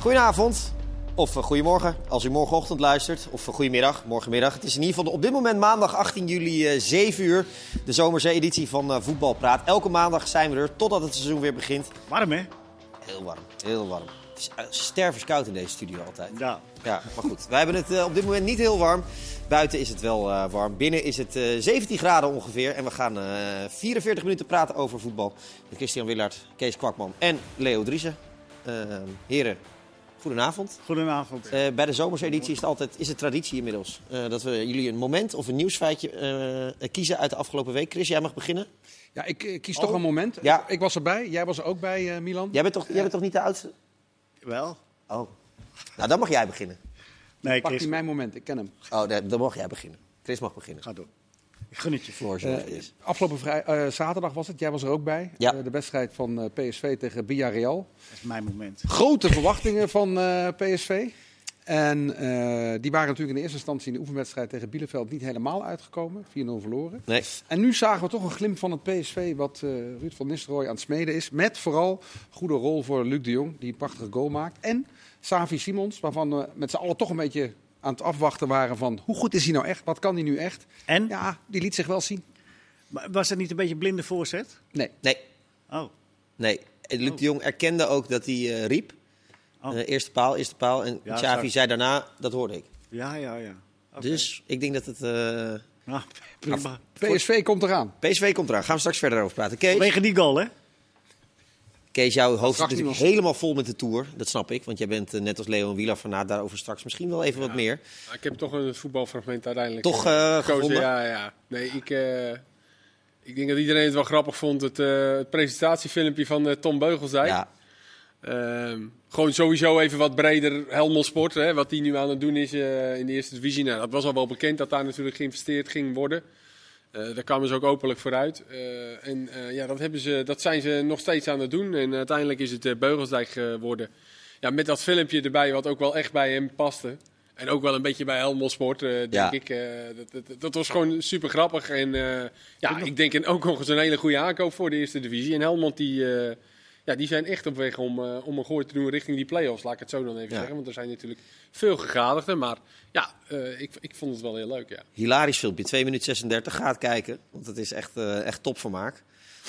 Goedenavond. Of eh, goedemorgen, als u morgenochtend luistert. Of eh, goedemiddag, morgenmiddag. Het is in ieder geval op dit moment maandag 18 juli eh 7 uur. De zomerse editie van eh, Voetbal Praat. Elke maandag zijn we er totdat het seizoen weer begint. Warm hè? Heel warm, heel warm. Het is eh, stervenskoud in deze studio altijd. Ja. Ja, maar goed. Wij hebben het eh, op dit moment niet heel warm. Buiten is het wel eh, warm. Binnen is het eh, 17 graden ongeveer. En we gaan eh, 44 minuten praten over voetbal. Met Christian Willaert, Kees Kwakman en Leo Driessen. Eh, heren, goedenavond. Goedenavond. Eh, bij de zomerseditie is het altijd is het traditie inmiddels. eh, dat we jullie een moment of een nieuwsfeitje eh, kiezen uit de afgelopen week. Chris, jij mag beginnen. Ja, ik, eh, kies Oh. toch een moment. Ja. Ik, ik was erbij, jij was er ook bij, eh, Milan. Jij bent toch, jij bent toch niet de oudste? Wel? Oh. Nou, dan mag jij beginnen. Nee, Pakt Chris, hij mijn moment, ik ken hem. Oh, nee, dan mag jij beginnen. Chris mag beginnen. ga door. Ik gun het je. Floor, zoals het Eh, is. afgelopen vrij, eh, zaterdag was het, jij was er ook bij. Ja. Eh, de wedstrijd van eh, PSV tegen Villarreal. Dat is mijn moment. Grote verwachtingen van eh, PSV. En eh, die waren natuurlijk in de eerste instantie in de oefenwedstrijd tegen Bielefeld niet helemaal uitgekomen. 4-0 verloren. Nee. En nu zagen we toch een glimp van het PSV wat eh, Ruud van Nistelrooy aan het smeden is. Met vooral goede rol voor Luc de Jong, die een prachtige goal maakt. En Savi Simons, waarvan we met z'n allen toch een beetje aan het afwachten waren van... hoe goed is hij nou echt? Wat kan hij nu echt? En? Ja, die liet zich wel zien. Maar Was dat niet een beetje blinde voorzet? Nee. Nee, Oh, nee. Eh, Luc de Jong erkende ook dat hij eh, riep. Oh. Eh, eerste paal, eerste paal. En Ja, Xavi zou- zei daarna, dat hoorde ik. ja, ja, ja. Oké. Dus ik denk dat het... eh, Nou, prima. PSV komt eraan. PSV komt eraan. Gaan we straks verder over praten. Kees, Vanwege die goal, hè? Kees jouw hoofd is Straks natuurlijk niet helemaal vol met de Tour. Dat snap ik, want jij bent eh, net als Leo en Wieler fanaat. Daarover straks misschien wel even wat meer. Ja, Ik heb toch een voetbalfragment uiteindelijk Toch, eh, eh, gevonden? Ja, ja. Nee, ik, eh, ik denk dat iedereen het wel grappig vond. Het, eh, het presentatiefilmpje van eh, Tom Beugelsdijk. Ja, Ehm, gewoon sowieso even wat breder Helmond Sport. Hè, wat die nu aan het doen is eh, in de eerste divisie. Nou, dat was al wel bekend dat daar natuurlijk geïnvesteerd ging worden. Eh, daar kwamen ze ook openlijk vooruit. Eh, en eh, ja, dat, hebben ze, dat zijn ze nog steeds aan het doen. En uiteindelijk is het eh, Beugelsdijk geworden. Ja, met dat filmpje erbij, wat ook wel echt bij hem paste. En ook wel een beetje bij Helmond Sport, eh, denk Ja. ik. eh, dat, dat, dat was gewoon super grappig. En eh, ja, ik denk en ook nog eens een hele goede aankoop voor de eerste divisie. En Helmond, die, eh, ja, die zijn echt op weg om, eh, om een gooi te doen richting die play-offs. Laat ik het zo dan even Ja. zeggen. Want er zijn natuurlijk veel gegadigden. Maar ja, eh, ik, ik vond het wel heel leuk, ja. hilarisch filmpje. 2 minuten 36. Ga het kijken, want het is echt, eh echt topvermaak.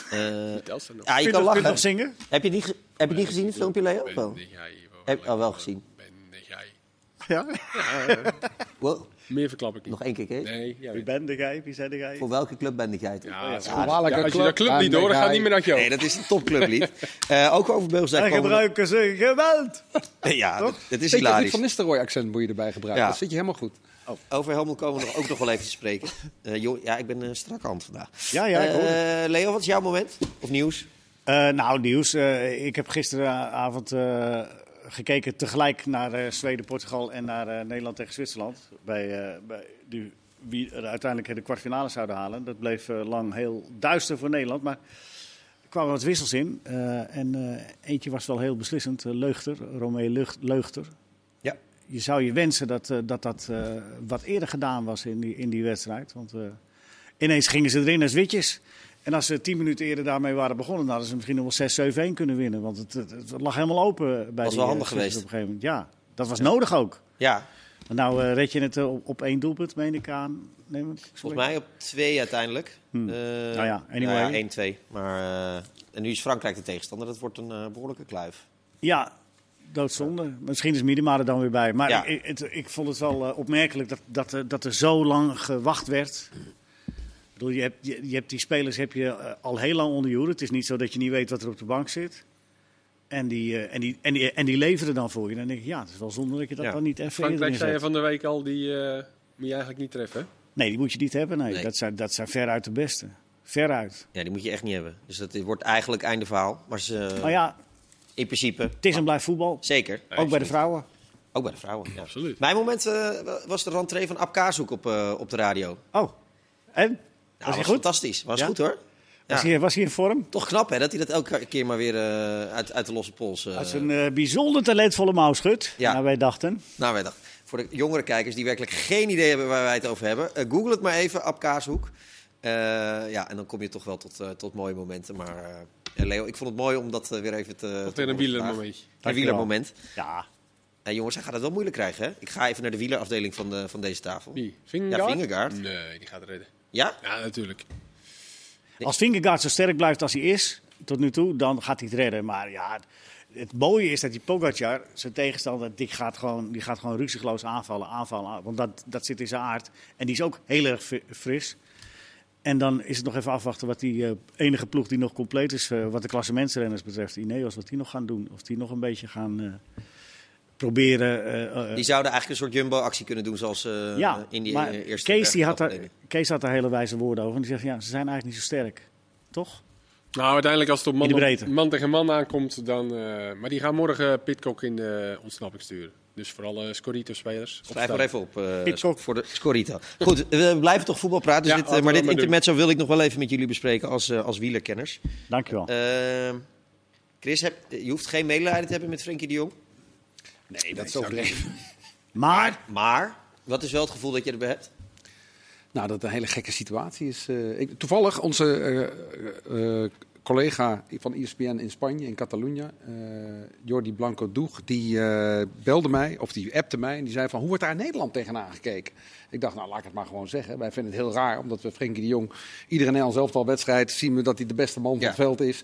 Eh Dat is er nog. ja, je Kun kan nog- kun nog lachen. zingen? Heb je, niet, ge- heb je niet gezien het filmpje, Leo? Oh. Of wel? Ben jij wel Heb- oh, wel lekker, gezien. Ben jij. Ja. Wow. Meer verklap ik niet. Nog één keer, Kees. Nee, jij Wie weet- ben jij? Wie zei jij? Voor welke club ben jij toen? Ja, dat is Ja, goed. Waarlijk Ja, een als je dat club niet aan door, dan de gaat guy. niet meer naar je Ah, Nee, hoofd. dat is een topclublied. Eh ook over Beugelsdijk En komen we- gebruiken ze geweld! Ja, dat, dat is Beetje Ruud hilarisch. van Nistelrooy accent moet je erbij gebruiken. Ja. Dat zit je helemaal goed. Over Helmond komen we nog, ook nog wel even te spreken. Eh, joh, ja, ik ben eh, strak hand vandaag. Ja, ja, ik hoor Eh, Leo, wat is jouw moment? Of nieuws? Eh, nou, nieuws. Eh, ik heb gisteravond eh, gekeken tegelijk naar eh, Zweden, Portugal en naar eh, Nederland tegen Zwitserland. Bij, eh, bij die, wie er uiteindelijk de kwartfinale zouden halen. Dat bleef eh, lang heel duister voor Nederland. Maar er kwamen wat wissels in. Eh, en eh, eentje was wel heel beslissend. eh, Leugter, Romee Lucht- Leugter. Ja. Je zou je wensen dat eh, dat, dat eh, wat eerder gedaan was in die, in die wedstrijd. Want eh, ineens gingen ze erin als witjes. En als ze tien minuten eerder daarmee waren begonnen, dan hadden ze misschien nog wel 6-7-1 kunnen winnen. Want het, het, het lag helemaal open bij die, wel eh, handig Zwitsers geweest. Op een gegeven moment. Ja, dat was nodig ook. Ja, Want nou eh, red je het eh, op, op één doelpunt, meen ik aan. Nee, maar- volgens mij op twee uiteindelijk. Eh, Nou ja, anyway. nou ja, 1-2. Maar, eh, en nu is Frankrijk de tegenstander. Dat wordt een eh, behoorlijke kluif. Ja, doodzonde. Misschien is Miedema er dan weer bij. Maar Ja. ik, ik, het- ik vond het wel eh, opmerkelijk dat, dat, eh, dat er zo lang gewacht werd. Ik bedoel, je hebt, je, je hebt die spelers heb je, eh, al heel lang onder je hoede. Het is niet zo dat je niet weet wat er op de bank zit. En die, eh, en die, en die, en die leveren dan voor je. Dan denk ik, ja, het is wel zonde dat je dat Ja. dan niet even Frankrijk eerder zei je inzet. van de week al, die eh, moet je eigenlijk niet treffen. hè? Nee, die moet je niet hebben. Nee. Nee. Dat, zijn, dat zijn veruit de beste. Veruit. Ja, die moet je echt niet hebben. Dus dat wordt eigenlijk einde verhaal. Maar ze, Maar ja, in principe, het is en blijft voetbal. zeker. Ook bij de vrouwen. Ook bij de vrouwen. Ja. Absoluut. Mijn moment eh, was de rentree van Ab Kaashoek op, eh, op de radio. Nou, Oh, en? was Was hij goed? fantastisch. Was Ja? goed hoor. Was Ja. hij, was hij in vorm? Toch knap hè, dat hij dat elke keer maar weer eh, uit, uit de losse pols... eh, Dat is een eh, bijzonder talentvolle mouw schudt, Ja. naar wij dachten. Nou, wij dachten, voor de jongere kijkers die werkelijk geen idee hebben waar wij het over hebben, eh, google het maar even, Ab Kaashoek. Eh, ja, en dan kom je toch wel tot, eh, tot mooie momenten. Maar eh, Leo, ik vond het mooi om dat eh, weer even te... Tot weer een wielermoment. wielermomentje. Een Dankjewel. wielermoment. Ja, Ja, jongens, hij gaat het wel moeilijk krijgen. Hè? Ik ga even naar de wielerafdeling van, de, van deze tafel. Wie? Ja, Vingegaard. Nee, die gaat redden. Ja? Ja, natuurlijk. Als Vingegaard zo sterk blijft als hij is, tot nu toe, dan gaat hij het redden. Maar ja, het mooie is dat die Pogacar, zijn tegenstander, die gaat gewoon, die gaat gewoon ruzigloos aanvallen, aanvallen. aan- Want dat, dat zit in zijn aard. En die is ook heel erg fi- fris. En dan is het nog even afwachten wat die eh, enige ploeg die nog compleet is, eh, wat de klassementsrenners betreft, Ineos, wat die nog gaan doen. Of die nog een beetje gaan eh, proberen... eh, eh, Die zouden eigenlijk een soort jumbo-actie kunnen doen zoals eh, ja, in die maar eh, eerste Kees, die had daar, bergafdeling. Kees had daar hele wijze woorden over. En die zegt, ja, ze zijn eigenlijk niet zo sterk. Toch? Nou, uiteindelijk als het op man, In de breedte. man tegen man aankomt, dan... eh, maar die gaan morgen Pitcock in de ontsnapping sturen. Dus voor alle Scorito-spelers. Schrijf maar even op eh, Pitcock. voor de Scorita. Goed, we blijven toch voetbal praten. Dus Ja, dit, eh, laten we maar dit dat maar doen. intermezzo wil ik nog wel even met jullie bespreken als, eh, als wielerkenners. Dankjewel. Ehm, Chris, heb, eh, je hoeft geen medelijden te hebben met Frenkie de Jong. Nee, dat is overdreven. Maar Maar, wat is wel het gevoel dat je erbij hebt? Nou, dat het een hele gekke situatie is. eh, ik, toevallig, onze eh, eh, collega van E ESPN in Spanje, in Catalunya, eh, Jordi Blanco Doeg, die eh, belde mij, of die appte mij, en die zei van, hoe wordt daar in Nederland tegenaan gekeken? Ik dacht, nou, laat ik het maar gewoon zeggen. Wij vinden het heel raar, omdat we Frenkie de Jong, iedere Nederlands elftal wedstrijd, zien we dat hij de beste man van Ja. het veld is.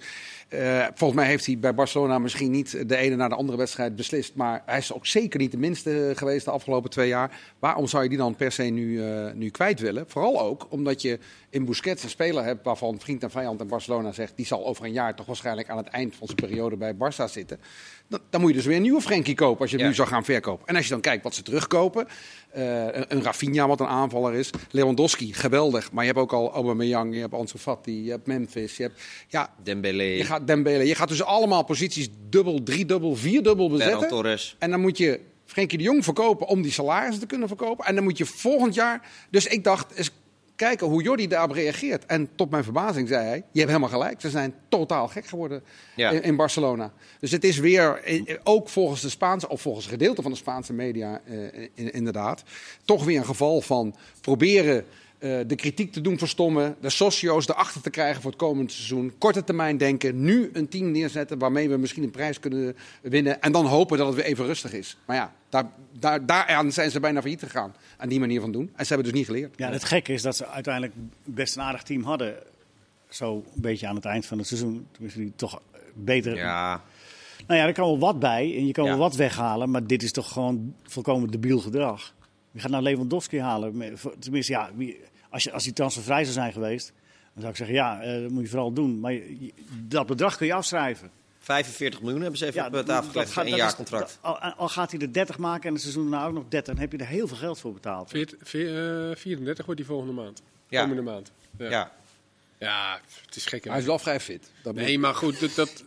Eh, volgens mij heeft hij bij Barcelona misschien niet de ene na de andere wedstrijd beslist, maar hij is ook zeker niet de minste geweest de afgelopen twee jaar. Waarom zou je die dan per se nu, eh, nu kwijt willen? Vooral ook omdat je in Busquets een speler hebt waarvan vriend en vijand en Barcelona zegt... die zal over een jaar toch waarschijnlijk aan het eind van zijn periode bij Barça zitten. Dan, dan moet je dus weer een nieuwe Frenkie kopen als je hem Ja. nu zou gaan verkopen. En als je dan kijkt wat ze terugkopen... eh, een, een Rafinha, wat een aanvaller is. Lewandowski, geweldig. Maar je hebt ook al Aubameyang, je hebt Ansu Fati, je hebt Memphis. Je hebt, ja, Dembele, je gaat Dembele. Je gaat dus allemaal posities dubbel, driedubbel, vierdubbel Ferran bezetten. Torres. En dan moet je Frenkie de Jong verkopen om die salarissen te kunnen verkopen. En dan moet je volgend jaar... Dus ik dacht, eens kijken hoe Jordi daarop reageert. En tot mijn verbazing zei hij, je hebt helemaal gelijk. Ze zijn totaal gek geworden Ja. in, in Barcelona. Dus het is weer, eh, ook volgens de Spaanse... of volgens een gedeelte van de Spaanse media eh, in- inderdaad... toch weer een geval van proberen... eh, de kritiek te doen verstommen, de socio's erachter te krijgen voor het komende seizoen. Korte termijn denken, nu een team neerzetten waarmee we misschien een prijs kunnen winnen. En dan hopen dat het weer even rustig is. Maar ja, daar, daar, daaraan zijn ze bijna failliet gegaan, aan die manier van doen. En ze hebben dus niet geleerd. eh. Ja, het gekke is dat ze uiteindelijk best een aardig team hadden. Zo een beetje aan het eind van het seizoen. Tenminste, die toch beter. Ja, Nou ja, er kan wel wat bij en je kan Ja. wel wat weghalen. Maar dit is toch gewoon volkomen debiel gedrag. Je gaat nou Lewandowski halen. Met- voor- Tenminste, ja, wie- als, je, als die transfervrij zou zijn geweest. Dan zou ik zeggen, ja, eh, dat moet je vooral doen. Maar je- je- dat bedrag kun je afschrijven. 45 miljoen hebben ze even ja, op de tafel gelegd. voor gaat- Een dat is- jaarcontract. dat- al, eh, al gaat hij er 30 maken en het seizoen daarna ook nog 30. Dan heb je er heel veel geld voor betaald. Veert- veer- eh, 34 wordt die volgende maand. Ja. Komende maand. Ja. Ja. ja. het is gek. hè. Hij is wel vrij fit. Dat moet- Nee, maar goed, dat, dat,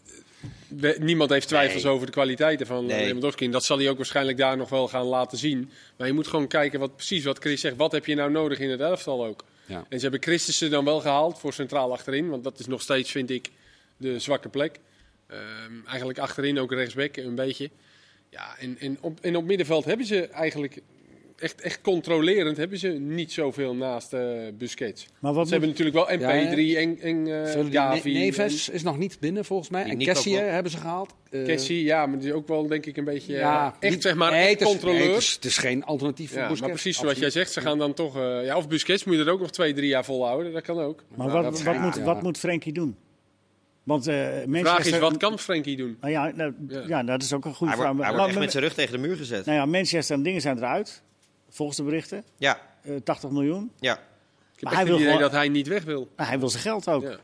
we- niemand heeft twijfels Nee. over de kwaliteiten van Nee. nee. Lewandowski. En dat zal hij ook waarschijnlijk daar nog wel gaan laten zien. Maar je moet gewoon kijken, wat, precies wat Chris zegt, wat heb je nou nodig in het elftal ook? Ja. En ze hebben Christensen dan wel gehaald voor centraal achterin. Want dat is nog steeds, vind ik, de zwakke plek. Ehm, eigenlijk achterin ook rechtsback een beetje. Ja, en, en, op, en op middenveld hebben ze eigenlijk... Echt, echt controlerend hebben ze niet zoveel naast eh, Busquets. Maar wat ze hebben natuurlijk wel MP3 en, en eh, Zullen die Gavi. Ne- en- Neves is nog niet binnen volgens mij. Die En Nico Kessie wel. hebben ze gehaald. Eh, Cassie, ja, maar die is ook wel denk ik een beetje eh, echt niet- zeg maar nee, echt het is- controleur. nee, het, is, het is geen alternatief voor ja, maar Busquets. precies zoals jij Absoluut. zegt, ze gaan dan toch... eh, ja, of Busquets moet je er ook nog twee, drie jaar volhouden. Dat kan ook. Maar Ja, wat, dat wat, schijnt, moet, ja. wat moet Frenkie doen? Want eh De mensen vraag is, wat kan Frenkie doen? Nou ja, nou, ja. Ja. dat is ook een goede Hij, vraag. wordt, hij wordt Maar- echt maar- met zijn rug tegen de muur gezet. nou ja, Manchester en dingen zijn eruit, volgens de berichten. Ja, Eh, 80 miljoen. ja. Ik Maar heb hij echt het wil idee gewoon- dat hij niet weg wil. Nou, hij wil zijn geld ook. Ja. Ja,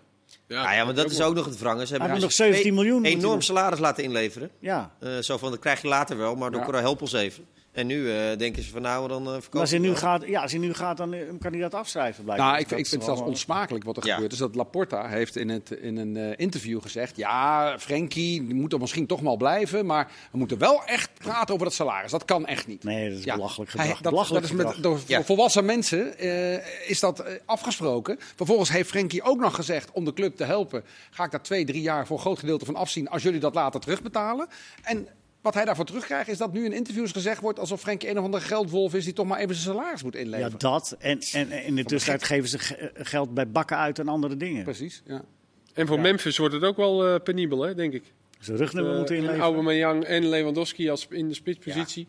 Ah, ja, maar dat is ook nog het wrangen. Ze hebben moet dus nog 17 miljoen moet hij enorm doen. salaris laten inleveren. Eh, zo van, dat krijg je later wel, maar door Ja. ja. help ons even. En nu eh, denken ze van nou, dan eh verkopen Maar als hij, we nu wel. gaat, ja, als hij nu gaat, dan eh, kan hij dat afschrijven blijkbaar. Nou, ik, Dus dat ik is vind het wel- zelfs onsmakelijk wat er Ja. gebeurt. Dus dat Laporta heeft in, het, in een eh, interview gezegd... ja, Frenkie die moet er misschien toch wel blijven... maar we moeten wel echt praten over dat salaris. Dat kan echt niet. Nee, dat is Ja, belachelijk hij- gedrag. dat, belachelijk dat is met, gedrag. door Ja. volwassen mensen eh, is dat eh, afgesproken. Vervolgens heeft Frenkie ook nog gezegd om de club te helpen... ga ik daar twee, drie jaar voor een groot gedeelte van afzien... als jullie dat later terugbetalen. En wat hij daarvoor terugkrijgt is dat nu in interviews gezegd wordt... alsof Frenkie een of andere geldwolf is die toch maar even zijn salaris moet Ja, inleveren. dat. En, en, en in de tussentijd geven ze ge- eh, geld bij bakken uit en andere dingen. Precies, ja. En voor Memphis wordt het ook wel eh, penibel, hè, denk ik. Zijn rugnummer eh, moeten en inleveren. Aubameyang en Lewandowski als, in de spitspositie.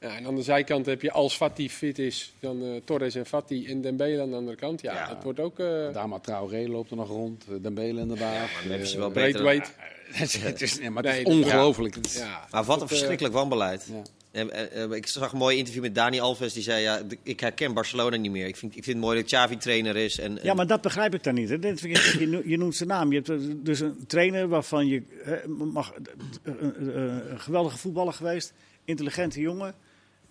Ja. en aan de zijkant heb je, als Fati fit is, dan eh, Torres en Fati en Dembele aan de andere kant. Ja, Ja. het wordt ook... eh, Dama Traoré loopt er nog rond. eh, Dembele inderdaad. Dan hebben ze wel Eh, beter... Braithwaite. het is, nee, maar het is Nee, dat- ongelooflijk. Het is- Ja, Maar wat een dat, eh, verschrikkelijk wanbeleid. Ja. En, en, en, ik zag een mooi interview met Dani Alves. Die zei, ja, d- ik herken Barcelona niet meer. Ik vind, ik vind het mooi dat Xavi trainer is. En, en- Ja, maar dat begrijp ik dan niet. Hè. Dit vind ik- Je, no- je noemt zijn naam. Je hebt eh, dus een trainer waarvan je hè, mag. eh, eh, eh, Een geweldige voetballer geweest, intelligente jongen.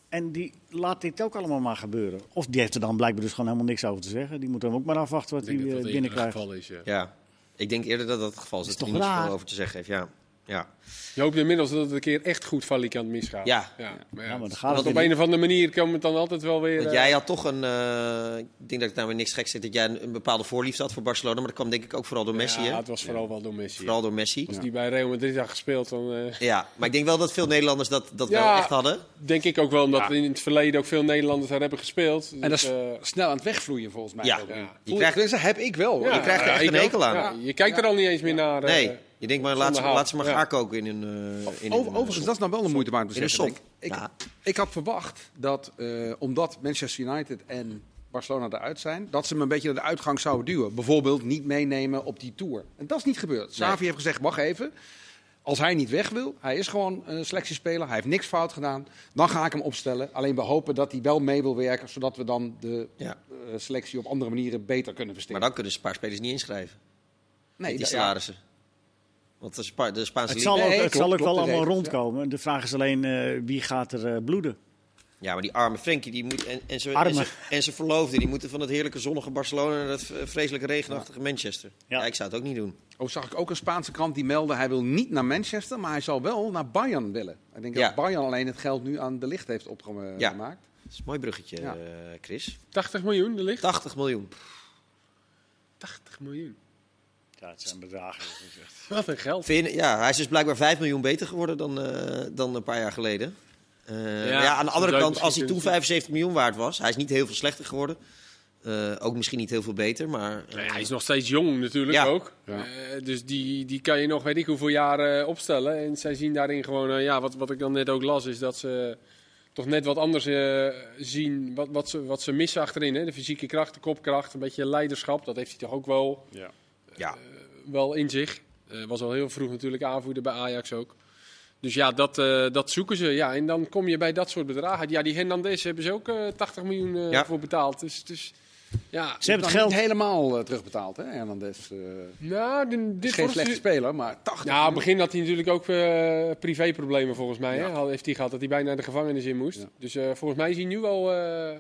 En die laat dit ook allemaal maar gebeuren. Of die heeft er dan blijkbaar dus gewoon helemaal niks over te zeggen. Die moet dan ook maar afwachten wat ik hij denk dat dat eh, eerder binnenkrijgt. het geval is, ja. ja. Ik denk eerder dat dat het geval is. Is Dat hij toch niet raar? veel over te zeggen heeft. Ja. Ja. Je hoopt inmiddels dat het een keer echt goed van die kant misgaat. Ja. maar Ja, maar dan het- gaat het want op weer een of andere manier komen het dan altijd wel weer... Want eh, jij had toch een... eh, ik denk dat ik nou weer niks gek zeg. Dat jij een, een bepaalde voorliefde had voor Barcelona. Maar dat kwam denk ik ook vooral door Messi. Ja, hè? het was vooral wel door Messi. Vooral door Messi. Als Ja. die bij Real Madrid had gespeeld, dan... eh, Maar ik denk wel dat veel Nederlanders dat, dat wel Ja. echt hadden. Denk ik ook wel, omdat in het verleden ook veel Nederlanders daar hebben gespeeld. En dat Dus, is eh, snel aan het wegvloeien volgens mij. Ja. ook. Ja. Je Voel- krijgt- Tenminste, heb ik wel. hoor. ja, je krijgt er ja, echt ik een ook. hekel aan. eh, Ja, je kijkt er al niet eens meer naar. eh, Nee. Je denkt maar, laat ze, Zonder laat ze maar haat. gaan Ja. koken in hun... eh, in hun, Over- overigens, dat is nou wel een moeite waard om te in een zeggen. Ik, som. ik, Ja. ik had verwacht dat, eh, omdat Manchester United en Barcelona eruit zijn, dat ze hem een beetje naar de uitgang zouden duwen. Bijvoorbeeld niet meenemen op die tour. En dat is niet gebeurd. Xavi heeft gezegd, wacht even. Als hij niet weg wil, hij is gewoon een selectiespeler, hij heeft niks fout gedaan, dan ga ik hem opstellen. Alleen we hopen dat hij wel mee wil werken, zodat we dan de Ja. eh, selectie op andere manieren beter kunnen Maar versterken. dan kunnen ze een paar spelers niet inschrijven. nee, die ja, salarissen. Want de, Spa- de Spaanse Het liga- zal ook, Nee, het zal klopt, ook klopt, wel dat allemaal weet ik, rondkomen. De vraag is alleen eh, wie gaat er eh, bloeden. Ja, maar die arme Frenkie die moet, en, en, zijn, Arme. en, zijn, en zijn verloofde die moeten van het heerlijke zonnige Barcelona naar dat v- vreselijke regenachtige Manchester. Ja. Ja. ik zou het ook niet doen. Oh, zag ik ook een Spaanse krant die meldde, hij wil niet naar Manchester, maar hij zal wel naar Bayern willen. Ik denk Ja. dat Bayern alleen het geld nu aan de licht heeft opgemaakt. Ja. Dat is een mooi bruggetje, Ja. eh, Chris. 80 miljoen, er ligt. 80 miljoen. 80 miljoen. Ja, het zijn bedragen. dat is echt- Wat een geld. Vind- ja, hij is dus blijkbaar 5 miljoen beter geworden dan, eh, dan een paar jaar geleden. Eh, Ja, ja, aan de dat andere zou kant, ik als hij toen misschien kunnen 75 miljoen waard was, hij is niet heel veel slechter geworden. Eh, ook misschien niet heel veel beter, maar... eh, hij is nog steeds jong natuurlijk Ja. ook. Ja. Eh, dus die, die kan je nog weet ik hoeveel jaren eh, opstellen. En zij zien daarin gewoon, eh, ja, wat, wat ik dan net ook las, is dat ze toch net wat anders eh, zien. Wat, wat, ze, wat ze missen achterin. Hè? De fysieke kracht, de kopkracht, een beetje leiderschap. Dat heeft hij toch ook wel, ja. wel in zich. Eh, was al heel vroeg natuurlijk aanvoerder bij Ajax ook. Dus ja, dat, eh, dat zoeken ze. Ja, en dan kom je bij dat soort bedragen. uit. Ja, die Hernandez hebben ze ook eh, 80 miljoen eh, Ja. voor betaald. Dus, dus ja, Ze hebben het geld. Niet helemaal eh, terugbetaald, hè, Hernandez. eh nou, dit- is dit geen wordt- slechte speler, maar 80 Ja, in het begin had hij natuurlijk ook eh, privéproblemen volgens mij. Hè? Had- Heeft hij gehad dat hij bijna de gevangenis in moest. Ja. Dus eh, volgens mij is hij nu wel eh,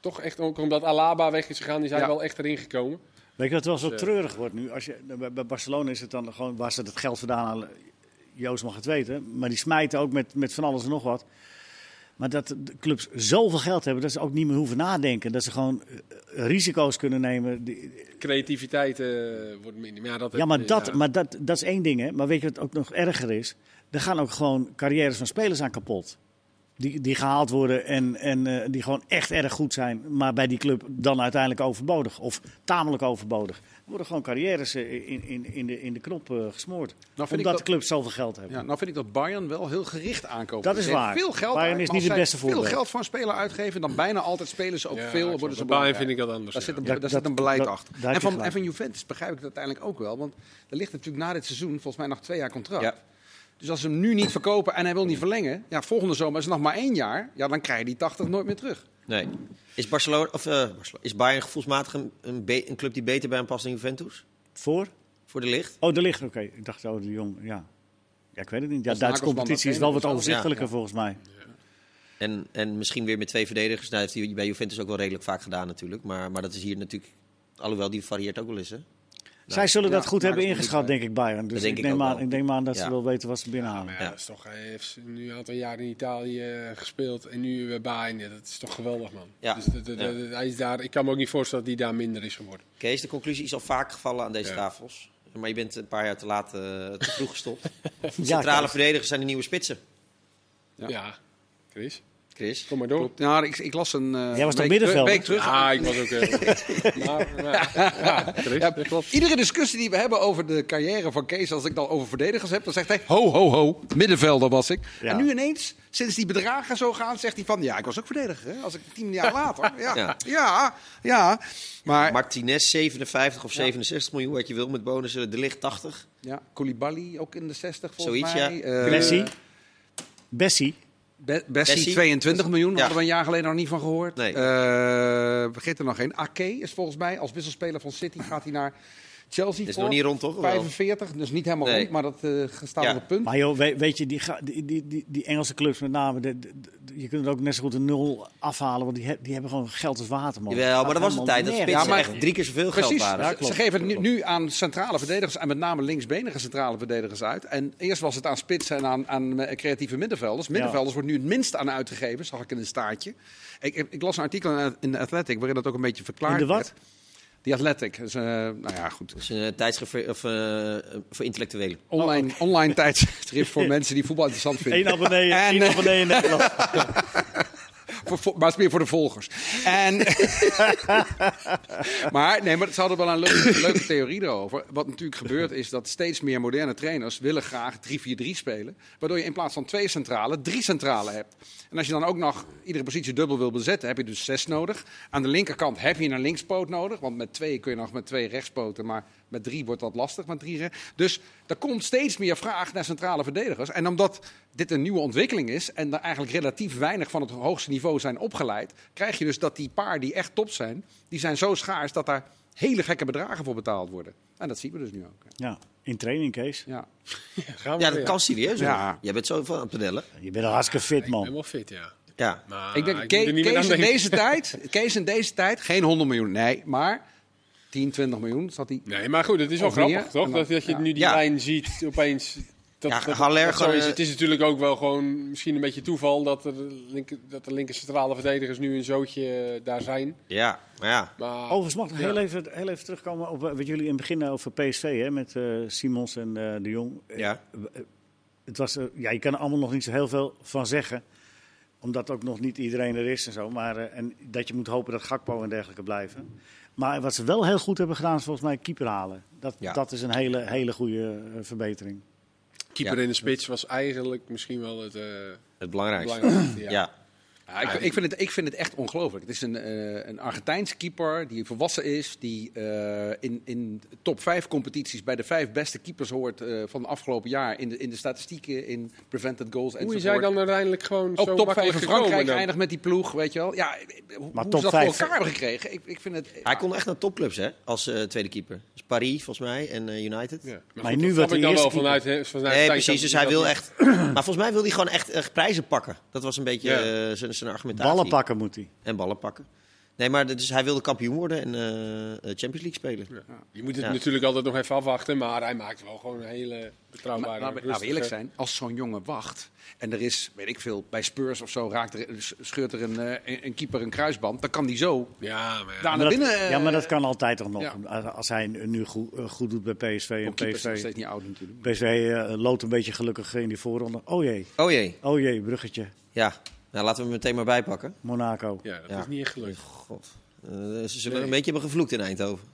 toch echt, ook omdat Alaba weg is gegaan, is hij Ja. wel echt erin gekomen. Weet je wat wel zo eh, treurig wordt nu? Als je, bij- bij Barcelona is het dan gewoon waar ze dat geld vandaan halen. Joost mag het weten. Maar die smijten ook met, met van alles en nog wat. Maar dat de clubs zoveel geld hebben dat ze ook niet meer hoeven nadenken. Dat ze gewoon eh, risico's kunnen nemen. Die- Creativiteit eh, wordt minder. Maar ja, dat, Ja, eh, maar, dat, ja. maar dat, dat is één ding. Hè? Maar weet je wat ook nog erger is? Er gaan ook gewoon carrières van spelers aan kapot. Die, die gehaald worden en, en eh, die gewoon echt erg goed zijn. Maar bij die club dan uiteindelijk overbodig. Of tamelijk overbodig. Er worden gewoon carrières eh, in, in, in, de, in de knop eh, gesmoord. Nou, vind ik omdat dat- de clubs zoveel geld hebben. Ja, nou vind ik dat Bayern wel heel gericht aankoopt. Dat Ze is geven waar. Veel geld Bayern uit, is maar niet het als zij beste voorbeeld. veel geld voor een speler uitgeven, dan bijna altijd spelen ze ook Ja, ik veel. snap Worden ze het. Bij Bayern belangrijk. vind ik dat anders, Daar, ja. zit, een, Ja, daar zit dat- een beleid dat- daar achter. heb En je van, gelijk. en van Juventus begrijp ik dat uiteindelijk ook wel. Want er ligt natuurlijk na dit seizoen volgens mij nog twee jaar contract. Ja. Dus als ze hem nu niet verkopen en hij wil niet verlengen, ja, volgende zomer is het nog maar één jaar, ja, dan krijg je die 80 nooit meer terug. Nee. Is, Barcelona, of, eh, Barcelona- is Bayern gevoelsmatig een, een, be- een club die beter bij hem past dan Juventus? Voor? Voor de licht? Oh, de ligt. Oké, ik dacht, oh, de jong. Ja. ja, ik weet het niet. Ja, Dat is Duitse Nagelsman competitie is dat wel wat trainen of zo. overzichtelijker volgens mij. En, en misschien weer met twee verdedigers. Nou, heeft hij bij Juventus ook wel redelijk vaak gedaan natuurlijk. Maar, maar dat is hier natuurlijk... Alhoewel, die varieert ook wel eens, hè? Zij zullen Ja, dat goed maar hebben dat is eh, ingeschat, niet- denk ik, Bayern. Dus denk ik ik neem ook aan- wel. ik neem aan dat ze Ja. wel weten wat ze binnenhalen. Maar ja, dat is toch, hij heeft nu een aantal jaren in Italië eh, gespeeld en nu bij Bayern. Ja, Dat is toch geweldig, man. Ja. Dus dat- dat- Ja. dat- hij is daar, ik kan me ook niet voorstellen dat hij daar minder is geworden. Kees, de conclusie is al vaak gevallen aan deze Ja. tafels. Maar je bent een paar jaar te laat, eh, te vroeg gestopt. Ja, Centrale kijk. verdedigers zijn de nieuwe spitsen. Ja, Ja. Chris. Chris. Kom maar door. Klopt. Nou, ik, ik las een eh, Jij was toch week, middenvelder? week terug. Ah, ik was ook... eh, maar, maar, ja, Chris, Ja, dat klopt. Iedere discussie die we hebben over de carrière van Kees, als ik dan over verdedigers heb, dan zegt hij: ho, ho, ho, middenvelder was ik. Ja. En nu ineens, sinds die bedragen zo gaan, zegt hij van: ja, ik was ook verdediger. Hè? Als ik tien jaar later. Ja, Ja. ja, ja. Maar, Martinez 57 of 67 miljoen, wat je wil met bonussen. De licht 80. ja, Koulibaly ook in de 60 volgens Zoiets, mij. ja. Eh, Bessie. Bessie. Be- Bessie, Bessie. 22 miljoen, daar Ja. hadden we een jaar geleden nog niet van gehoord. Nee. Eh, vergeet er nog geen. Ake is volgens mij als wisselspeler van City gaat hij naar Chelsea. Is voor. nog niet rond, toch? Of wel? 45, dus niet helemaal Nee. rond, maar dat eh staat Ja. op het punt. Maar joh, we- weet je, die, ga- die, die, die, die Engelse clubs met name, de- de- de- je kunt er ook net zo goed een nul afhalen, want die, he- die hebben gewoon geld als water, man. Jawel, maar dat was een tijd dat Nergens. spitsen Ja, maar- echt drie keer zoveel Precies, geld waren. Ja, ze klopt. geven het nu, nu aan centrale verdedigers en met name linksbenige centrale verdedigers uit. En eerst was het aan spitsen en aan, aan eh, creatieve middenvelders. Middenvelders wordt nu het minst aan uitgegeven, zag ik in een staartje. Ik, ik, ik las een artikel in- in de Athletic waarin dat ook een beetje verklaard In de wat? werd. Die Athletic, dus, eh, nou ja, goed. Dat is een tijdschrift voor, of, eh, voor intellectuelen. Oh, Online, online tijdschrift voor mensen die voetbal interessant vinden. Eén abonnee, En, één eh, abonnee in Nederland. Voor- voor- maar het is meer voor de volgers. En maar, nee, maar ze hadden wel een leuke, leuke theorie erover. Wat natuurlijk gebeurt is dat steeds meer moderne trainers willen graag 3-4-3 spelen. Waardoor je in plaats van twee centralen, drie centralen hebt. En als je dan ook nog iedere positie dubbel wil bezetten, heb je dus zes nodig. Aan de linkerkant heb je een linkspoot nodig. Want met twee kun je nog met twee rechtspoten. Maar met drie wordt dat lastig. Met drie re- dus er komt steeds meer vraag naar centrale verdedigers. En omdat dit een nieuwe ontwikkeling is en er eigenlijk relatief weinig van het hoogste niveau zijn opgeleid, krijg je dus dat die paar die echt top zijn, die zijn zo schaars dat daar hele gekke bedragen voor betaald worden. En dat zien we dus nu ook. Ja, in training, Kees. Ja. Gaan we Ja, weer. dat kan serieus. Ja. hoor. Jij bent zo van aan het pedellen. Je bent een hartstikke fit, Ik ben man. wel fit, ja. Ja. Maar ik denk, Ah, moet Ke- er niet meer Kees, aan in denken. deze tijd, Kees in deze tijd, geen 100 miljoen, nee, maar 10, 20 miljoen zat hij. Nee, maar goed, het is wel Of grappig, meer. toch? En Dat, dan- dat je ja. nu die Ja. lijn ziet, opeens... Dat, Ja, dat- Haller dat zo gewoon, is. eh, Het is natuurlijk ook wel gewoon misschien een beetje toeval dat, er linker, dat de linker centrale verdedigers nu een zootje eh, daar zijn. Ja, maar ja. Maar Overigens mag ik Ja. heel, even, heel even terugkomen op eh, wat jullie in het begin over PSV, hè, met eh, Simons en eh, de Jong. ja. Het was, eh, ja, je kan er allemaal nog niet zo heel veel van zeggen. Omdat ook nog niet iedereen er is en zo. Maar, eh, en dat je moet hopen dat Gakpo en dergelijke blijven. Maar wat ze wel heel goed hebben gedaan is volgens mij keeper halen. Dat, Ja. Nou, dat is een hele, hele goede eh, verbetering. keeper Ja. in de spits was eigenlijk misschien wel het eh, Het belangrijkste. belangrijkste. Ja. Ja. Ja, ik, ik, vind het, ik vind het echt ongelooflijk. Het is een, eh een Argentijns keeper die volwassen is, die eh, in, in top 5 competities bij de vijf beste keepers hoort eh, van het afgelopen jaar. In de, in de statistieken, in prevented goals Hoe en is jij dan uiteindelijk gewoon Ook zo top 5 makkelijk in gekomen Frankrijk dan? eindigt met die ploeg, weet je wel. Ja, eh, hoe, Maar hoe top ze dat vijf. voor elkaar hebben gekregen, ik, ik vind het... Ah, Hij kon echt naar topclubs hè, als eh, tweede keeper. Dus Paris volgens mij en eh, United. Ja. Maar goed, nu wordt dat snap de ik dan wel eerste vanuit... hè, vanuit Nee, Stijn precies. Nou, dat- Dus hij dat- wil echt. Maar volgens mij wil hij gewoon echt, echt prijzen pakken. Dat was een beetje Ja. eh, zijn, zijn argumentatie. Ballen pakken moet hij. En ballen pakken. Nee, maar dus hij wilde kampioen worden en eh, eh, Champions League spelen. Je moet het Ja. natuurlijk altijd nog even afwachten, maar hij maakt wel gewoon een hele Maar betrouwbare... laten we- laten we eerlijk rustige- zijn, als zo'n jongen wacht en er is, weet ik veel, bij Spurs of zo raakt er, scheurt er een, eh, een, een keeper een kruisband, dan kan die zo Ja, maar Maar daar ja. naar dat, binnen... eh, ja, maar dat kan altijd toch nog. ja. Als- Als hij nu goed, eh, goed doet bij PSV en want keepers zijn nog PSV, steeds niet oud natuurlijk. PSV eh, loopt een beetje gelukkig in die voorronde. Oh jee, Oh jee. oh jee, bruggetje, Ja. Nou, laten we hem meteen maar bijpakken. Monaco. Ja, dat Ja. is niet echt gelukt. God. Eh, ze zullen een beetje hebben gevloekt in Eindhoven.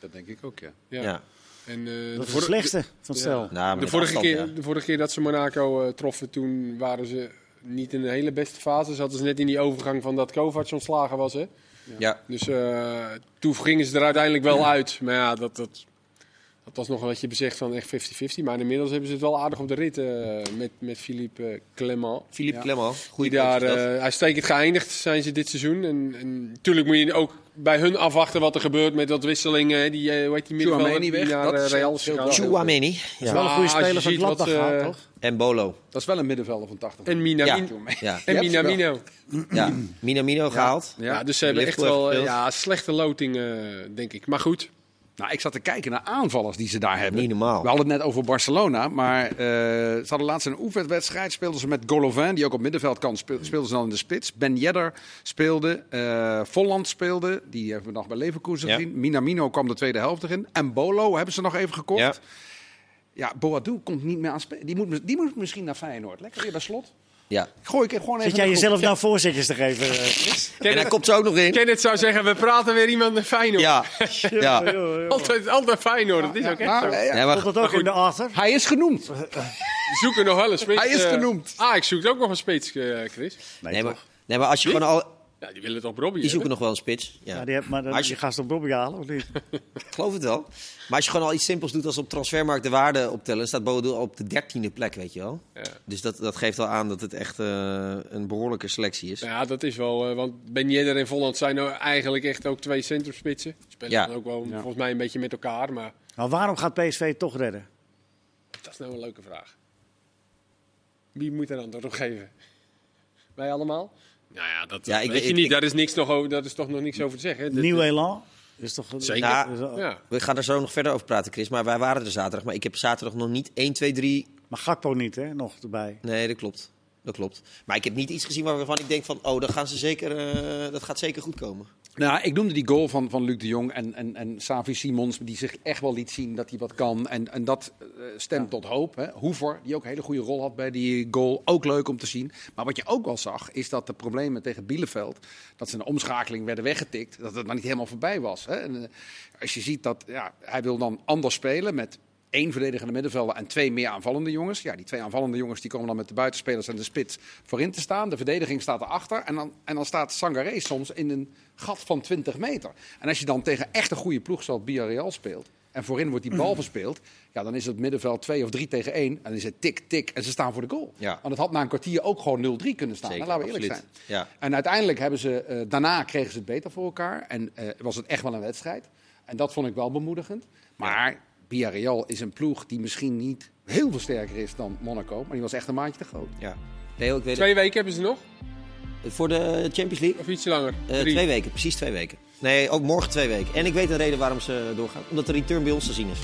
Dat denk ik ook, ja. Ja. Ja. En, eh, Dat is de de vor- slechtste van het stel. Nou, maar de, met vorige afstand, keer, ja. de vorige keer dat ze Monaco eh, troffen, toen waren ze niet in de hele beste fase. Ze hadden ze net in die overgang van dat Kovac ontslagen was. Hè? Ja. Dus eh, toen gingen ze er uiteindelijk wel uit. Maar ja, dat, dat, dat was nog wat je bezegt van echt 50-50. Maar inmiddels hebben ze het wel aardig op de rit eh, met, met Philippe eh, Clement. Philippe Ja. Clement. Die Goeie daar coach is dat. eh uitstekend geëindigd zijn ze dit seizoen. En, en natuurlijk moet je ook bij hun afwachten wat er gebeurt met dat wisselingen. hè. Die, eh, hoe heet die middenvelder die Tchouaméni weg, naar dat eh, is Real heel is gegaan? goed. Chouameni. Dat Ja. is wel een goede Maar als je speler van ziet wat, Gladbach gaat, eh, toch? En Bolo. Dat is wel een middenvelder van 80 En Ja. Minamino. Ja. En Ja, Minamino. ja. Minamino gehaald. Ja, dus ze hebben echt Liverpool wel eh, gespeeld. ja, slechte loting, eh, denk ik. Maar goed, Nou, ik zat te kijken naar aanvallers die ze daar hebben. Niet normaal. We hadden het net over Barcelona, maar eh, ze hadden laatst een oefenwedstrijd. Speelden ze met Golovin, die ook op middenveld kan. speel- Speelden ze dan in de spits. Ben Yedder speelde. eh Volland speelde. Die hebben we nog bij Leverkusen Ja. gezien. Minamino kwam de tweede helft erin. En Bolo hebben ze nog even gekocht. Ja. Ja, Boadu komt niet meer aan spelen. Die moet, mis- die moet misschien naar Feyenoord. Lekker weer bij slot. Ja. Gooi ik er gewoon even Zit jij in de groep. jezelf nou voorzetjes te geven? eh, Chris? En hij komt er ook nog in. Kenneth zou zeggen, we praten weer iemand naar Feyenoord. Ja. ja. Joh, joh, joh. Altijd, altijd Feyenoord, dat is ook echt Nou, zo. eh, ja. Nee, maar Komt dat ook in de Arthur? Hij is genoemd. We zoeken nog wel een spits. Hij is eh, genoemd. Ah, ik zoek ook nog een spits, eh, Chris. Nee, maar, nee, maar als je gewoon al... Ja, die willen toch Robbie Die zoeken hebben? nog wel een spits. Ja. Ja, die hebt, maar dan, Als je- je gaat ze op Robbie halen, of niet? Ik geloof het wel. Maar als je gewoon al iets simpels doet als op transfermarkt de waarde optellen, dan staat Bodo op de dertiende plek, weet je wel. Ja. Dus dat, dat geeft wel aan dat het echt eh, een behoorlijke selectie is. Nou Ja, dat is wel. eh, want Ben Yedder en Volland zijn nou eigenlijk echt ook twee centrumspitsen. Die Spelen Ja. dan ook wel volgens mij een beetje met elkaar. Maar Maar Nou, waarom gaat PSV het toch redden? dat is nou een leuke vraag. Wie moet er antwoord op geven? Wij allemaal? Nou ja, dat Ja, ja, ik weet weet- je ik- niet. ik- daar, is niks nog over, daar is toch nog niks over te zeggen. hè? Dit- Nieuw elan? Is toch, Zeker. Ja. is- Ja. We gaan er zo nog verder over praten, Chris. Maar wij waren er zaterdag. Maar ik heb zaterdag nog niet 1, 2, 3. Maar Gakpo niet, hè? Nog erbij. Nee, dat klopt. Dat klopt. Maar ik heb niet iets gezien waarvan ik denk van, oh, dat, gaan ze zeker, eh, dat gaat zeker goed komen. Nou, ik noemde die goal van, van Luc de Jong en, en, en Savi Simons, die zich echt wel liet zien dat hij wat kan. En, en dat eh, stemt tot hoop. Hè. Hoever, die ook een hele goede rol had bij die goal, ook leuk om te zien. Maar wat je ook wel zag, is dat de problemen tegen Bielefeld, dat ze in de omschakeling werden weggetikt, dat het maar niet helemaal voorbij was. Hè. En, eh, als je ziet dat ja, hij wil dan anders spelen met één verdedigende middenvelder en twee meer aanvallende jongens. Ja, die twee aanvallende jongens die komen dan met de buitenspelers en de spits voorin te staan. De verdediging staat erachter. En dan, en dan staat Sangaré soms in een gat van 20 meter. En als je dan tegen echt een goede ploeg zoals Villarreal speelt... en voorin wordt die bal verspeeld... ja, dan is het middenveld 2 of 3 tegen 1. En dan is het tik, tik en ze staan voor de goal. Ja. Want het had na een kwartier ook gewoon 0-3 kunnen staan. Zeker, hè, Nou, laten we eerlijk absoluut. zijn. Ja. En uiteindelijk hebben ze, eh, daarna kregen ze het beter voor elkaar. En eh, was het echt wel een wedstrijd. En dat vond ik wel bemoedigend. Maar Villarreal is een ploeg die misschien niet heel veel sterker is dan Monaco. Maar die was echt een maandje te groot. Ja. Leo, ik weet Twee weken hebben ze nog? het. Voor de Champions League? Of ietsje langer? Eh, Drie. twee weken, precies twee weken. Nee, ook morgen twee weken. En ik weet een reden waarom ze doorgaan. Omdat de return bij ons te zien is.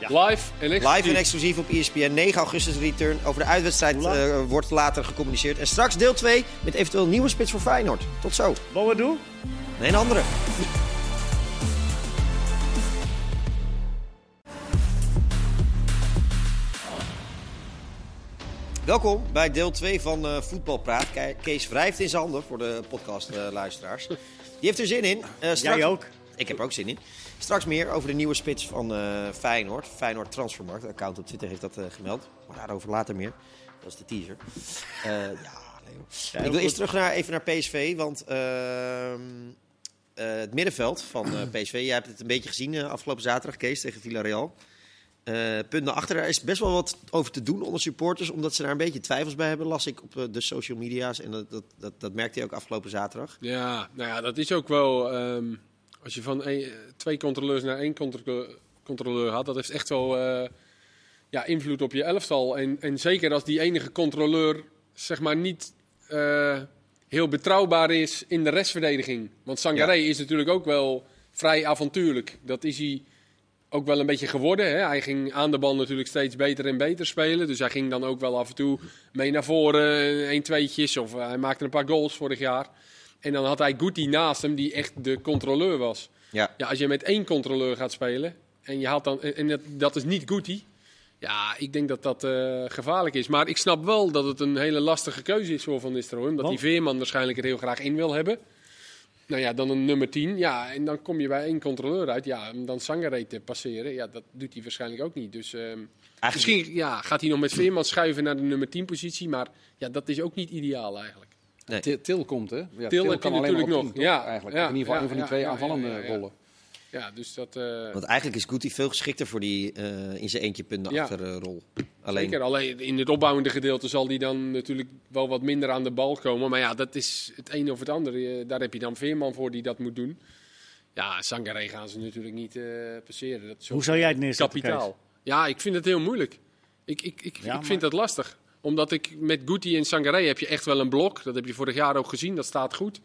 Live en exclusief. Live en exclusief op E ESPN. 9 augustus return. Over de uitwedstrijd eh, wordt later gecommuniceerd. En straks deel 2 met eventueel een nieuwe spits voor Feyenoord. Tot zo. Wat we doen? Nee, een andere. Welkom bij deel 2 van eh Voetbalpraat. Ke- Kees wrijft in zijn handen voor de podcastluisteraars. Die heeft er zin in. Eh, straks... Jij ook? Ik heb er ook zin in. Straks meer over de nieuwe spits van eh, Feyenoord. Feyenoord Transfermarkt. De account op Twitter heeft dat eh, gemeld. Maar daarover later meer. Dat is de teaser. Eh, ja, Leo. ik wil eerst terug naar, even naar PSV. Want ehm, eh, het middenveld van eh, PSV. Jij hebt het een beetje gezien eh, afgelopen zaterdag, Kees, tegen Villarreal. Eh punt naar achter. Daar is best wel wat over te doen onder supporters. Omdat ze daar een beetje twijfels bij hebben. Las ik op eh, de social media's. En dat, dat, dat, dat merkte je ook afgelopen zaterdag. Ja, nou ja, dat is ook wel. ehm, als je van één- twee controleurs naar één contro- controleur had, dat heeft echt wel eh, ja, invloed op je elftal. En, en zeker als die enige controleur zeg maar niet eh, heel betrouwbaar is in de restverdediging. Want Sangaré is natuurlijk ook wel vrij avontuurlijk. Dat is hij ook wel een beetje geworden. Hè? Hij ging aan de bal natuurlijk steeds beter en beter spelen. Dus hij ging dan ook wel af en toe mee naar voren. Een tweetjes of hij maakte een paar goals vorig jaar. En dan had hij Guti naast hem die echt de controleur was. Ja. Ja, als je met één controleur gaat spelen en, je haalt dan, en en dat, dat is niet Guti. Ja, ik denk dat dat eh, gevaarlijk is. Maar ik snap wel dat het een hele lastige keuze is voor Van Nistelrooy. Omdat Want? die Veerman waarschijnlijk er heel graag in wil hebben. Nou ja, dan een nummer 10. Ja, en dan kom je bij één controleur uit. Ja, om dan Sangaré te passeren. Ja, dat doet hij waarschijnlijk ook niet. Dus ehm, misschien ja, gaat hij nog met Veerman schuiven naar de nummer 10 positie. Maar ja, dat is ook niet ideaal eigenlijk. Nee. Til, Til komt, hè? Ja, Til heb je maar natuurlijk op tien, nog. toch, Ja, eigenlijk. ja, Of in ieder geval ja, een van die ja, twee ja, ja, aanvallende ja, ja. rollen. Ja, dus dat... eh, Want eigenlijk is Guti veel geschikter voor die eh, in zijn eentje punten Ja. achter eh, rol. Alleen, Zeker, alleen in het opbouwende gedeelte zal die dan natuurlijk wel wat minder aan de bal komen. Maar ja, dat is het een of het ander. Je- Daar heb je dan Veerman voor die dat moet doen. Ja, Sangaré gaan ze natuurlijk niet eh, passeren. Dat is Hoe ook zou jij het neerzetten? kapitaal. Ja, ik vind het heel moeilijk. Ik, ik, ik, Ja, ik vind maar- dat lastig. Omdat ik met Guti en Sangaré heb je echt wel een blok. Dat heb je vorig jaar ook gezien, dat staat goed.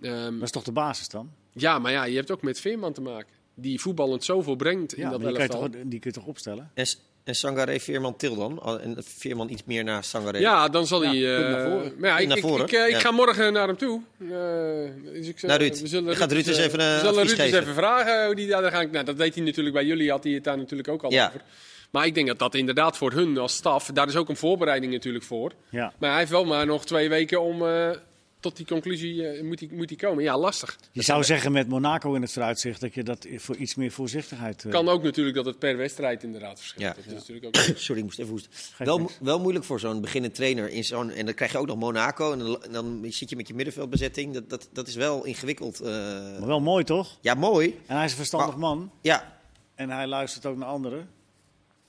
Ehm, Kees? Dat is toch de basis dan? ja, maar ja, je hebt ook met Veerman te maken. Die voetballend zoveel brengt in Ja, maar dat die, kun je elftal. toch, die kun je toch opstellen? en, S- en Sangaré, Veerman, Til dan? Al- En Veerman iets meer naar Sangaré. Ja, dan zal hij. eh, punt naar voren. Maar ja, ik, Naar ik- voren, ik, eh, ik ja. ga morgen naar hem toe. Eh, dus ik, zeg, Nou, Ruud, we zullen je gaat Ruud eens eh, even, eh, we zullen advies Ruud eens geven. even vragen hoe die daar dan gaan. Nou, dat deed hij natuurlijk bij jullie, had hij het daar natuurlijk ook al Ja. over. Maar ik denk dat dat inderdaad voor hun als staf, daar is ook een voorbereiding natuurlijk voor. Ja. Maar hij heeft wel maar nog twee weken om eh, tot die conclusie eh, moet, die, moet die komen. Ja, lastig. Je zou zeggen met Monaco in het vooruitzicht dat je dat voor iets meer voorzichtigheid... eh, kan ook natuurlijk dat het per wedstrijd inderdaad verschilt. Ja. Dat is natuurlijk ook... Sorry, ik moest even hoesten. Wel, mo- niks. wel moeilijk voor zo'n beginnend trainer. In zo'n, en dan krijg je ook nog Monaco. En dan, en dan zit je met je middenveldbezetting. Dat, dat, dat is wel ingewikkeld. eh. Maar wel mooi, toch? ja, mooi. En hij is een verstandig Maar- man. Ja. En hij luistert ook naar anderen.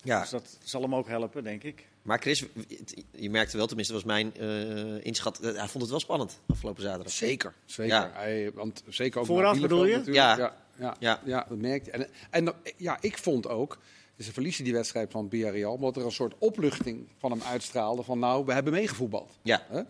ja. Dus dat zal hem ook helpen, denk ik. Maar Chris, het- je merkte wel, tenminste was mijn eh, inschat. eh, hij vond het wel spannend afgelopen zaterdag. Zeker. Zeker. Ja. Hij, want zeker ook Vooraf naar bedoel je? Bielefeld natuurlijk. Ja. Ja, ja, Ja. ja. dat merkte En, en dan- ja, ik vond ook, dus ze verliezen die wedstrijd van Villarreal, omdat er een soort opluchting van hem uitstraalde van nou, we hebben meegevoetbald. Ja. Hè?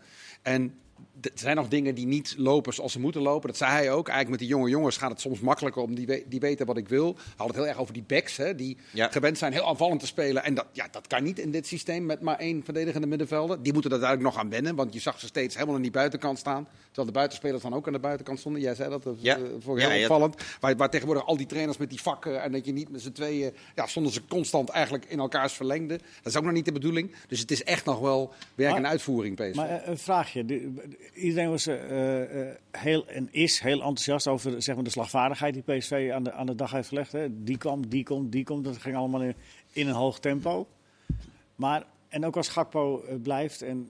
En d- er zijn nog dingen die niet lopen zoals ze moeten lopen. Dat zei hij ook. Eigenlijk met die jonge jongens gaat het soms makkelijker om. Die, we- die weten wat ik wil. Hij had het heel erg over die backs. Hè, die Ja. gewend zijn heel aanvallend te spelen. En dat, ja, dat kan niet in dit systeem met maar één verdedigende middenvelder. Die moeten er duidelijk nog aan wennen. Want je zag ze steeds helemaal aan die buitenkant staan. Terwijl de buitenspelers dan ook aan de buitenkant stonden. Jij zei dat. dat Ja. eh, vond ik Ja, heel ja. opvallend. Waar, waar tegenwoordig al die trainers met die vakken. En dat je niet met z'n tweeën. Ja, stonden ze constant eigenlijk in elkaars verlengde. Dat is ook nog niet de bedoeling. Dus het is echt nog wel werk en Maar- uitvoering, PSV. Maar eh, een vraagje. De- Iedereen was eh, eh, heel en is heel enthousiast over zeg maar, de slagvaardigheid die PSV aan de, aan de dag heeft gelegd. Hè. Die kwam, die komt, die komt. Dat ging allemaal in, in een hoog tempo. Maar, en ook als Gakpo eh, blijft en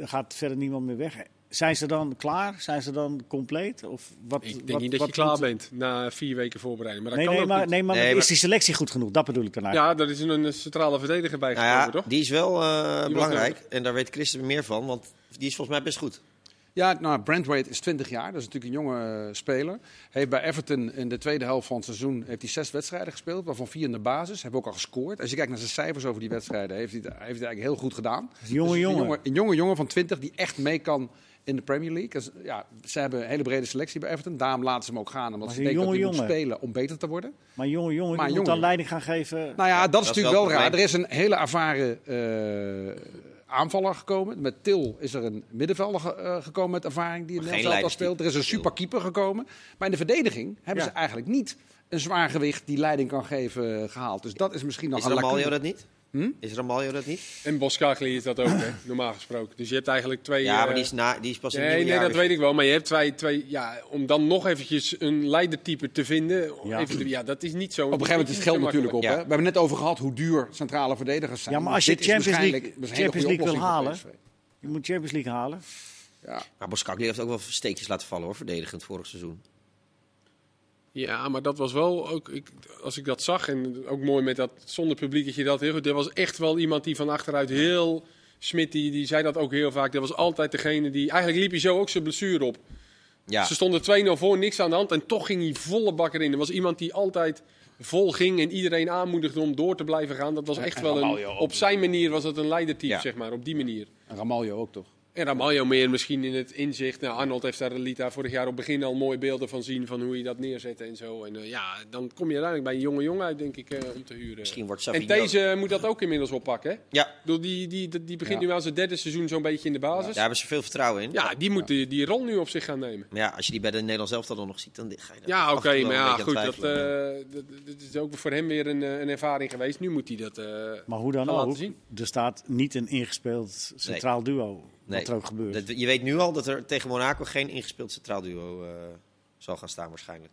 er gaat verder niemand meer weg. Zijn ze dan klaar? Zijn ze dan compleet? Of wat, Ik denk wat- niet dat wat je klaar moet- bent na vier weken voorbereiding. Maar dat Nee, nee, kan ook maar, niet. nee, maar Nee, maar- is die selectie goed genoeg? Dat bedoel ik daarna. Ja, daar is een eh, centrale verdediger bij Nou gekomen, ja, toch? die is wel eh, belangrijk. nodig. En daar weet Chris er meer van. Want die is volgens mij best goed. Ja, nou, Brandwaite is 20 jaar. Dat is natuurlijk een jonge eh, speler. Heeft bij Everton in de tweede helft van het seizoen heeft hij zes wedstrijden gespeeld, waarvan vier in de basis. Heeft ook al gescoord. Als je kijkt naar zijn cijfers over die wedstrijden, heeft hij het, hij heeft het eigenlijk heel goed gedaan. een jonge Dus het is jongen. Een jonge, een jonge jongen van 20 die echt mee kan in de Premier League. Dus, ja, ze hebben een hele brede selectie bij Everton. Daarom laten ze hem ook gaan, omdat Maar ze een denken dat hij jonge moet jongen. spelen om beter te worden. Maar jongen, jongen, Maar die moet jongen. dan leiding gaan geven. Nou ja, dat is dat is natuurlijk wel, wel het raar. Er is een hele ervaren eh, aanvaller gekomen. Met Til is er een middenvelder ge- eh, gekomen met ervaring die in Maar het geen al speelt. Er is een leiderstype, superkeeper gekomen. Maar in de verdediging hebben Ja. ze eigenlijk niet een zwaar gewicht die leiding kan geven eh, gehaald. Dus dat is misschien nog Is een Ramaljo lacune. dat niet? Hm? Is Ramaljo dat niet? En Boskagli is dat ook, hè, normaal gesproken. Dus je hebt eigenlijk twee... Ja, maar eh, die is, na, die is pas in het Nee, nieuwe nee, jaar, dat dus- weet ik wel. Maar je hebt twee, twee ja, om dan nog eventjes een leidertype te vinden. Ja. even- ja, dat is niet zo. Op een gegeven moment is het geld natuurlijk op. Ja. Hè? We hebben het net over gehad hoe duur centrale verdedigers zijn. Ja, maar Dus als je dit is Champions waarschijnlijk- League- dat is een hele Champions goede League wil oplossing voor Je moet Champions League halen. PSV. Ja. Maar Boskakli heeft ook wel steekjes laten vallen hoor, verdedigend vorig seizoen. Ja, maar dat was wel ook. Ik, als ik dat zag en ook mooi met dat zonder publiek dat je dat heel goed. Er was echt wel iemand die van achteruit heel. Smit die, die zei dat ook heel vaak. Dat was altijd degene die. Eigenlijk liep hij zo ook zijn blessure op. Ja, Ze stonden 2-0 voor, niks aan de hand. En toch ging hij volle bak erin. Er was iemand die altijd vol ging en iedereen aanmoedigde om door te blijven gaan. Dat was echt wel een. Op zijn manier was dat een leidertype, Ja. zeg maar. Op die manier. En Ramaljo ook toch? En Ramaljo meer misschien in het inzicht. Nou, Arnold heeft daar Lita vorig jaar op het begin al mooie beelden van zien. Van hoe je dat neerzette en zo. En eh, ja, dan kom je uiteindelijk bij een jonge jongen uit, denk ik, eh, om te huren. misschien wordt en Savinio... deze moet dat ook inmiddels oppakken. hè? Ik Ja, bedoel, Die, die, die, die begint Ja. nu aan zijn derde seizoen zo'n beetje in de basis. daar Ja, hebben ze veel vertrouwen in. die moet Die, die rol nu op zich gaan nemen. Maar ja, als je die bij de Nederlands elftal dan nog ziet, dan ga je daar Ja, af en oké, toe wel maar een ja, beetje aan goed. Dat, twijfelen. eh, dat, dat is ook voor hem weer een, eh, een ervaring geweest. Nu moet hij dat. eh, Maar hoe dan Gaan laten ook, zien. er staat niet een ingespeeld centraal duo. Nee. Wat er ook gebeurt. Dat- je weet nu al dat er tegen Monaco geen ingespeeld centraal duo eh, zal gaan staan waarschijnlijk.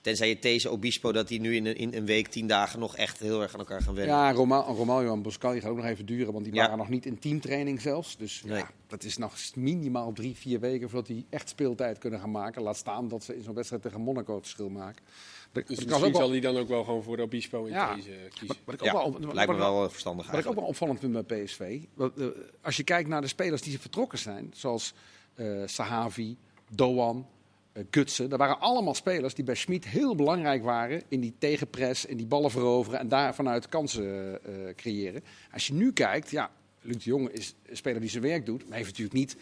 Tenzij je deze Obispo dat die nu in een, in een week, tien dagen nog echt heel erg aan elkaar gaan werken. Ja, Roma- Romario en Boscagli gaan ook nog even duren, want die Ja. waren nog niet in teamtraining zelfs. Dus Nee. ja, dat is nog minimaal drie, vier weken voordat die echt speeltijd kunnen gaan maken. Laat staan dat ze in zo'n wedstrijd tegen Monaco het verschil maken. De- dus wat ik misschien ook wel- zal hij dan ook wel gewoon voor Obispo in Ja. deze kiezen. wat- wat ik ook Ja, wel- wat- lijkt me wat- wel eh, verstandig wat ik ook eigenlijk. wel opvallend vind bij PSV. wat, eh, als je kijkt naar de spelers die vertrokken zijn, zoals eh, Sahavi, Doan, eh, Gutsen. Dat waren allemaal spelers die bij Schmid heel belangrijk waren in die tegenpress, in die ballen veroveren en daar vanuit kansen eh, eh, creëren. Als je nu kijkt, ja, Luc de Jong is een speler die zijn werk doet, maar heeft natuurlijk niet.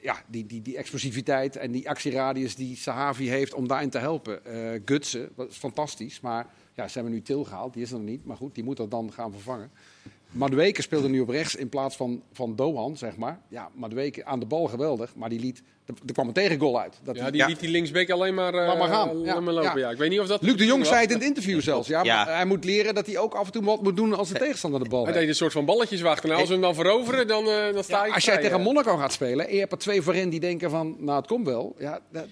Ja, die, die, die explosiviteit en die actieradius die Sahavi heeft om daarin te helpen. Eh Gutsen, dat is fantastisch. Maar ja, ze hebben nu Til gehaald, die is er nog niet. Maar goed, die moet dat dan gaan vervangen. Madueke speelde nu op rechts in plaats van, van Doan, zeg maar. Ja, Madueke aan de bal geweldig, maar die liet... Er er kwam een tegengoal uit. Dat Ja, hij- die Ja. liet die linksbeek alleen maar, eh, Laat maar gaan. laat Ja, maar lopen. ja. Ja. Ik weet niet of dat... Luc de Jong was. zei het in het interview zelfs. Ja, Ja. maar Hij moet leren dat hij ook af en toe wat moet doen als de tegenstander de bal Hij heeft. deed een soort van balletjes wachten. Nou, als we hem dan veroveren, dan, eh, dan sta Ja, ik als jij vrij, tegen eh. Monaco gaat spelen en je hebt er twee voorin die denken van, nou het komt wel. Ja, dat,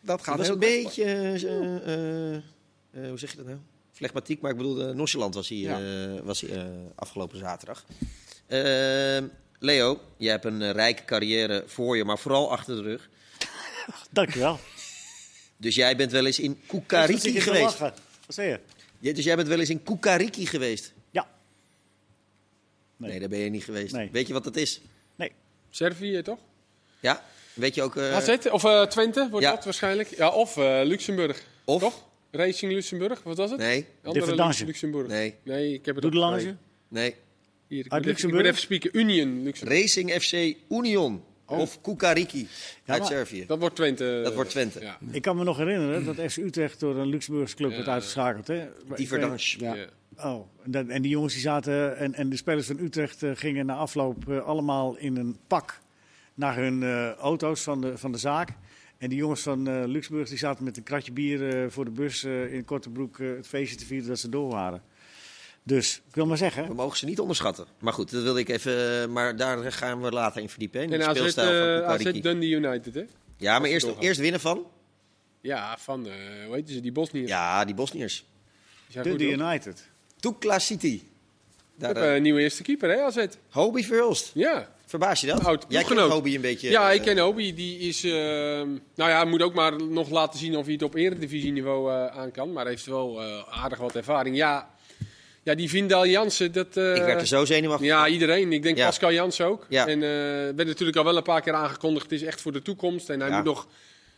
dat gaat Dat was heel een kwetsbaar. beetje, eh, eh, eh, hoe zeg je dat nou? Flegmatiek, maar ik bedoel, eh, nonchalant was hij, eh, was hij eh, afgelopen zaterdag. Ehm, Leo, jij hebt een eh, rijke carrière voor je, maar vooral achter de rug. Dankjewel. Dus jij bent wel eens in Zit je Kukariki te geweest. lachen? Wat zei je? Ja, dus jij bent wel eens in Kukariki geweest. Ja. Nee. Nee. daar ben je niet geweest. Nee. Weet je wat dat is? Nee. Servië, eh, toch? Ja? Weet je ook... eh, AZ, of eh, Twente, wordt ja. dat waarschijnlijk. Ja, of eh, Luxemburg. Of? Toch? Racing Luxemburg, wat was het? Nee, Andere Differdange. Lu- Luxemburg. Nee. Nee, ik heb het Doe de ook- langetje. nee. nee. Hier, ik Uit ben even- Luxemburg? Ik ben even spieken. Union Luxemburg. Racing FC Union Oh. of Kukariki uit maar- Servië. Dat wordt Twente. Dat wordt Twente. Ja. Ik kan me nog herinneren dat FC Utrecht door een Luxemburgse club werd uitgeschakeld. Hè? Die verdans. Ja. Ja. Oh, en, dat- en die jongens die zaten en, en de spelers van Utrecht eh, gingen na afloop eh, allemaal in een pak naar hun eh, auto's van de, van de zaak. En die jongens van eh, Luxemburg die zaten met een kratje bier eh, voor de bus eh, in korte broek eh, het feestje te vieren dat ze door waren. Dus ik wil maar We zeggen, mogen ze niet onderschatten. Maar goed, dat wilde ik even. eh, Maar daar gaan we later in verdiepen. hè, In de En AZ, speelstijl eh, van AZ Kukariki. Dundee United, hè? ja, maar we eerst, doorgaan. eerst winnen van. Ja, van, eh hoe heet ze, die Bosniërs. Ja, die Bosniërs. Die zijn goed, Dundee hoor. United. Tukla City. Daar, Ik eh, heb eh, een nieuwe eerste keeper, hè, AZ? Hobie Verhulst. Ja. Verbaas je dat? Oud Jij kent ploeggenoot. Hobie een beetje. ja, eh, ik ken Obi. Die is, ehm, nou ja, moet ook maar nog laten zien of hij het op eredivisieniveau eh aan kan. Maar heeft wel eh, aardig wat ervaring. Ja, ja die Vindal Jansen, dat... eh, Ik werd er zo zenuwachtig. Ja, iedereen. Ik denk Ja. Pascal Jansen ook. Ja. En eh werd natuurlijk al wel een paar keer aangekondigd. Het is echt voor de toekomst. En hij Ja. moet nog